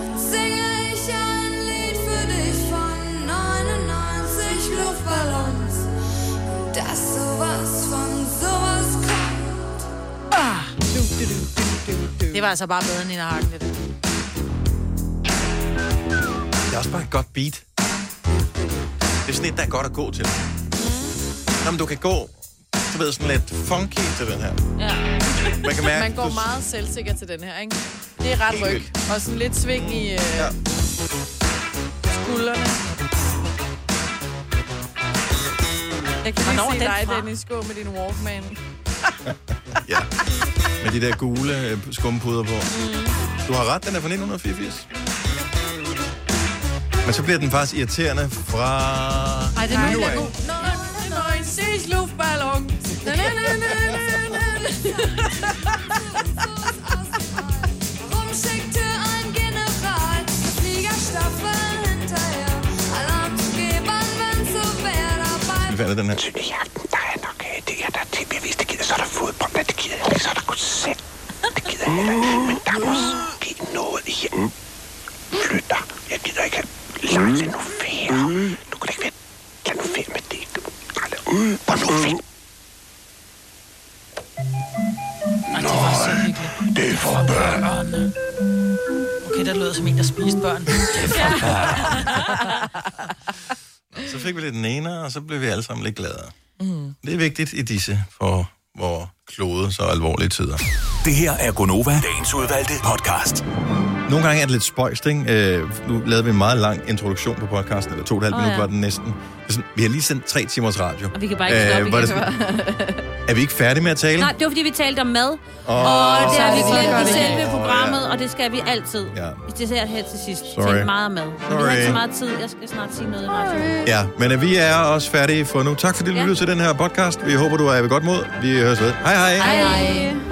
S22: Dann singe ich ein Lied für dich von 99 Luftballons. Und dass sowas von sowas kommt.
S3: Det var altså bare bedre end Nina Hagen. Det der.
S1: Det er også bare et godt beat. Det er sådan et, der er godt at gå til.
S4: Mm.
S1: Nå, men du kan gå, du ved, sådan lidt funky til den her.
S4: Ja.
S1: Man kan mærke,
S4: Man går
S1: du-
S4: meget selvsikker til den her, ikke? Det er ret
S1: Helt
S4: ryg. Og sådan lidt sving i øh, skuldrene. Jeg kan
S3: Hvornår
S4: lige
S3: er
S4: se
S3: den
S4: dig,
S3: fra?
S4: Dennis, gå med din Walkman.
S1: Ja. Med de der gule øh, skumpuder på.
S4: Mm.
S1: Du har ret, den er fra 1984. Men så bliver den faktisk irriterende fra...
S4: Ej, den er
S1: nu
S4: nu
S1: af.
S4: god. Nå, nå, nå, en ses luftballon. Na, na, na, na, na,
S22: Warum schickte ein General Fliegerstaffeln hinterher? Alarm zu geben, wenn's so wär dabei.
S1: Hvad er det, den her?
S23: Der er nok øh, det her, der er tip. Jeg vidste, det gider. Så er der fodbold, men det gider jeg ikke. Så er der koncert. Det gider jeg ikke. Men der er måske noget her. Flyt dig. Jeg gider ikke have lagt til nu færre. Nu kan det ikke være. Lad nu færre med det. Fedt.
S3: Nå, det er for børn. Okay, der lød som en, der spiste børn.
S1: Så fik vi lidt nener, og så blev vi alle sammen lidt gladere.
S3: Mm.
S1: Det er vigtigt i disse for hvor klode så alvorlige tider.
S19: Det her er Gonova, dagens udvalgte podcast.
S1: Nogle gange er det lidt spøjst, ikke? Øh, nu lavede vi en meget lang introduktion på podcasten, eller to og et halvt
S2: Åh,
S1: oh, minut
S2: ja.
S1: var den næsten. Det er sådan, Vi har lige sendt tre timers radio.
S2: Og vi kan bare ikke stoppe
S1: Øh, hvor er,
S2: igen.
S1: det sådan, er vi ikke færdige med at tale?
S2: Nej, det var fordi, vi talte om mad.
S1: Åh.
S2: og det har vi
S1: Så gør
S2: glemt i
S1: vi.
S2: selve
S1: Åh,
S2: programmet,
S1: ja.
S2: og det skal vi altid.
S1: Ja.
S2: Det ser her til sidst.
S1: Sorry.
S2: Tænk meget om mad. Men Vi har
S1: Sorry.
S2: ikke så meget tid. Jeg skal snart sige noget i radioen.
S1: Ja, men øh, vi er også færdige for nu. Tak fordi du
S2: Ja.
S1: lyttede til den her podcast. Vi håber, du er ved godt mod. Vi høres ved. Hej hej.
S2: hej.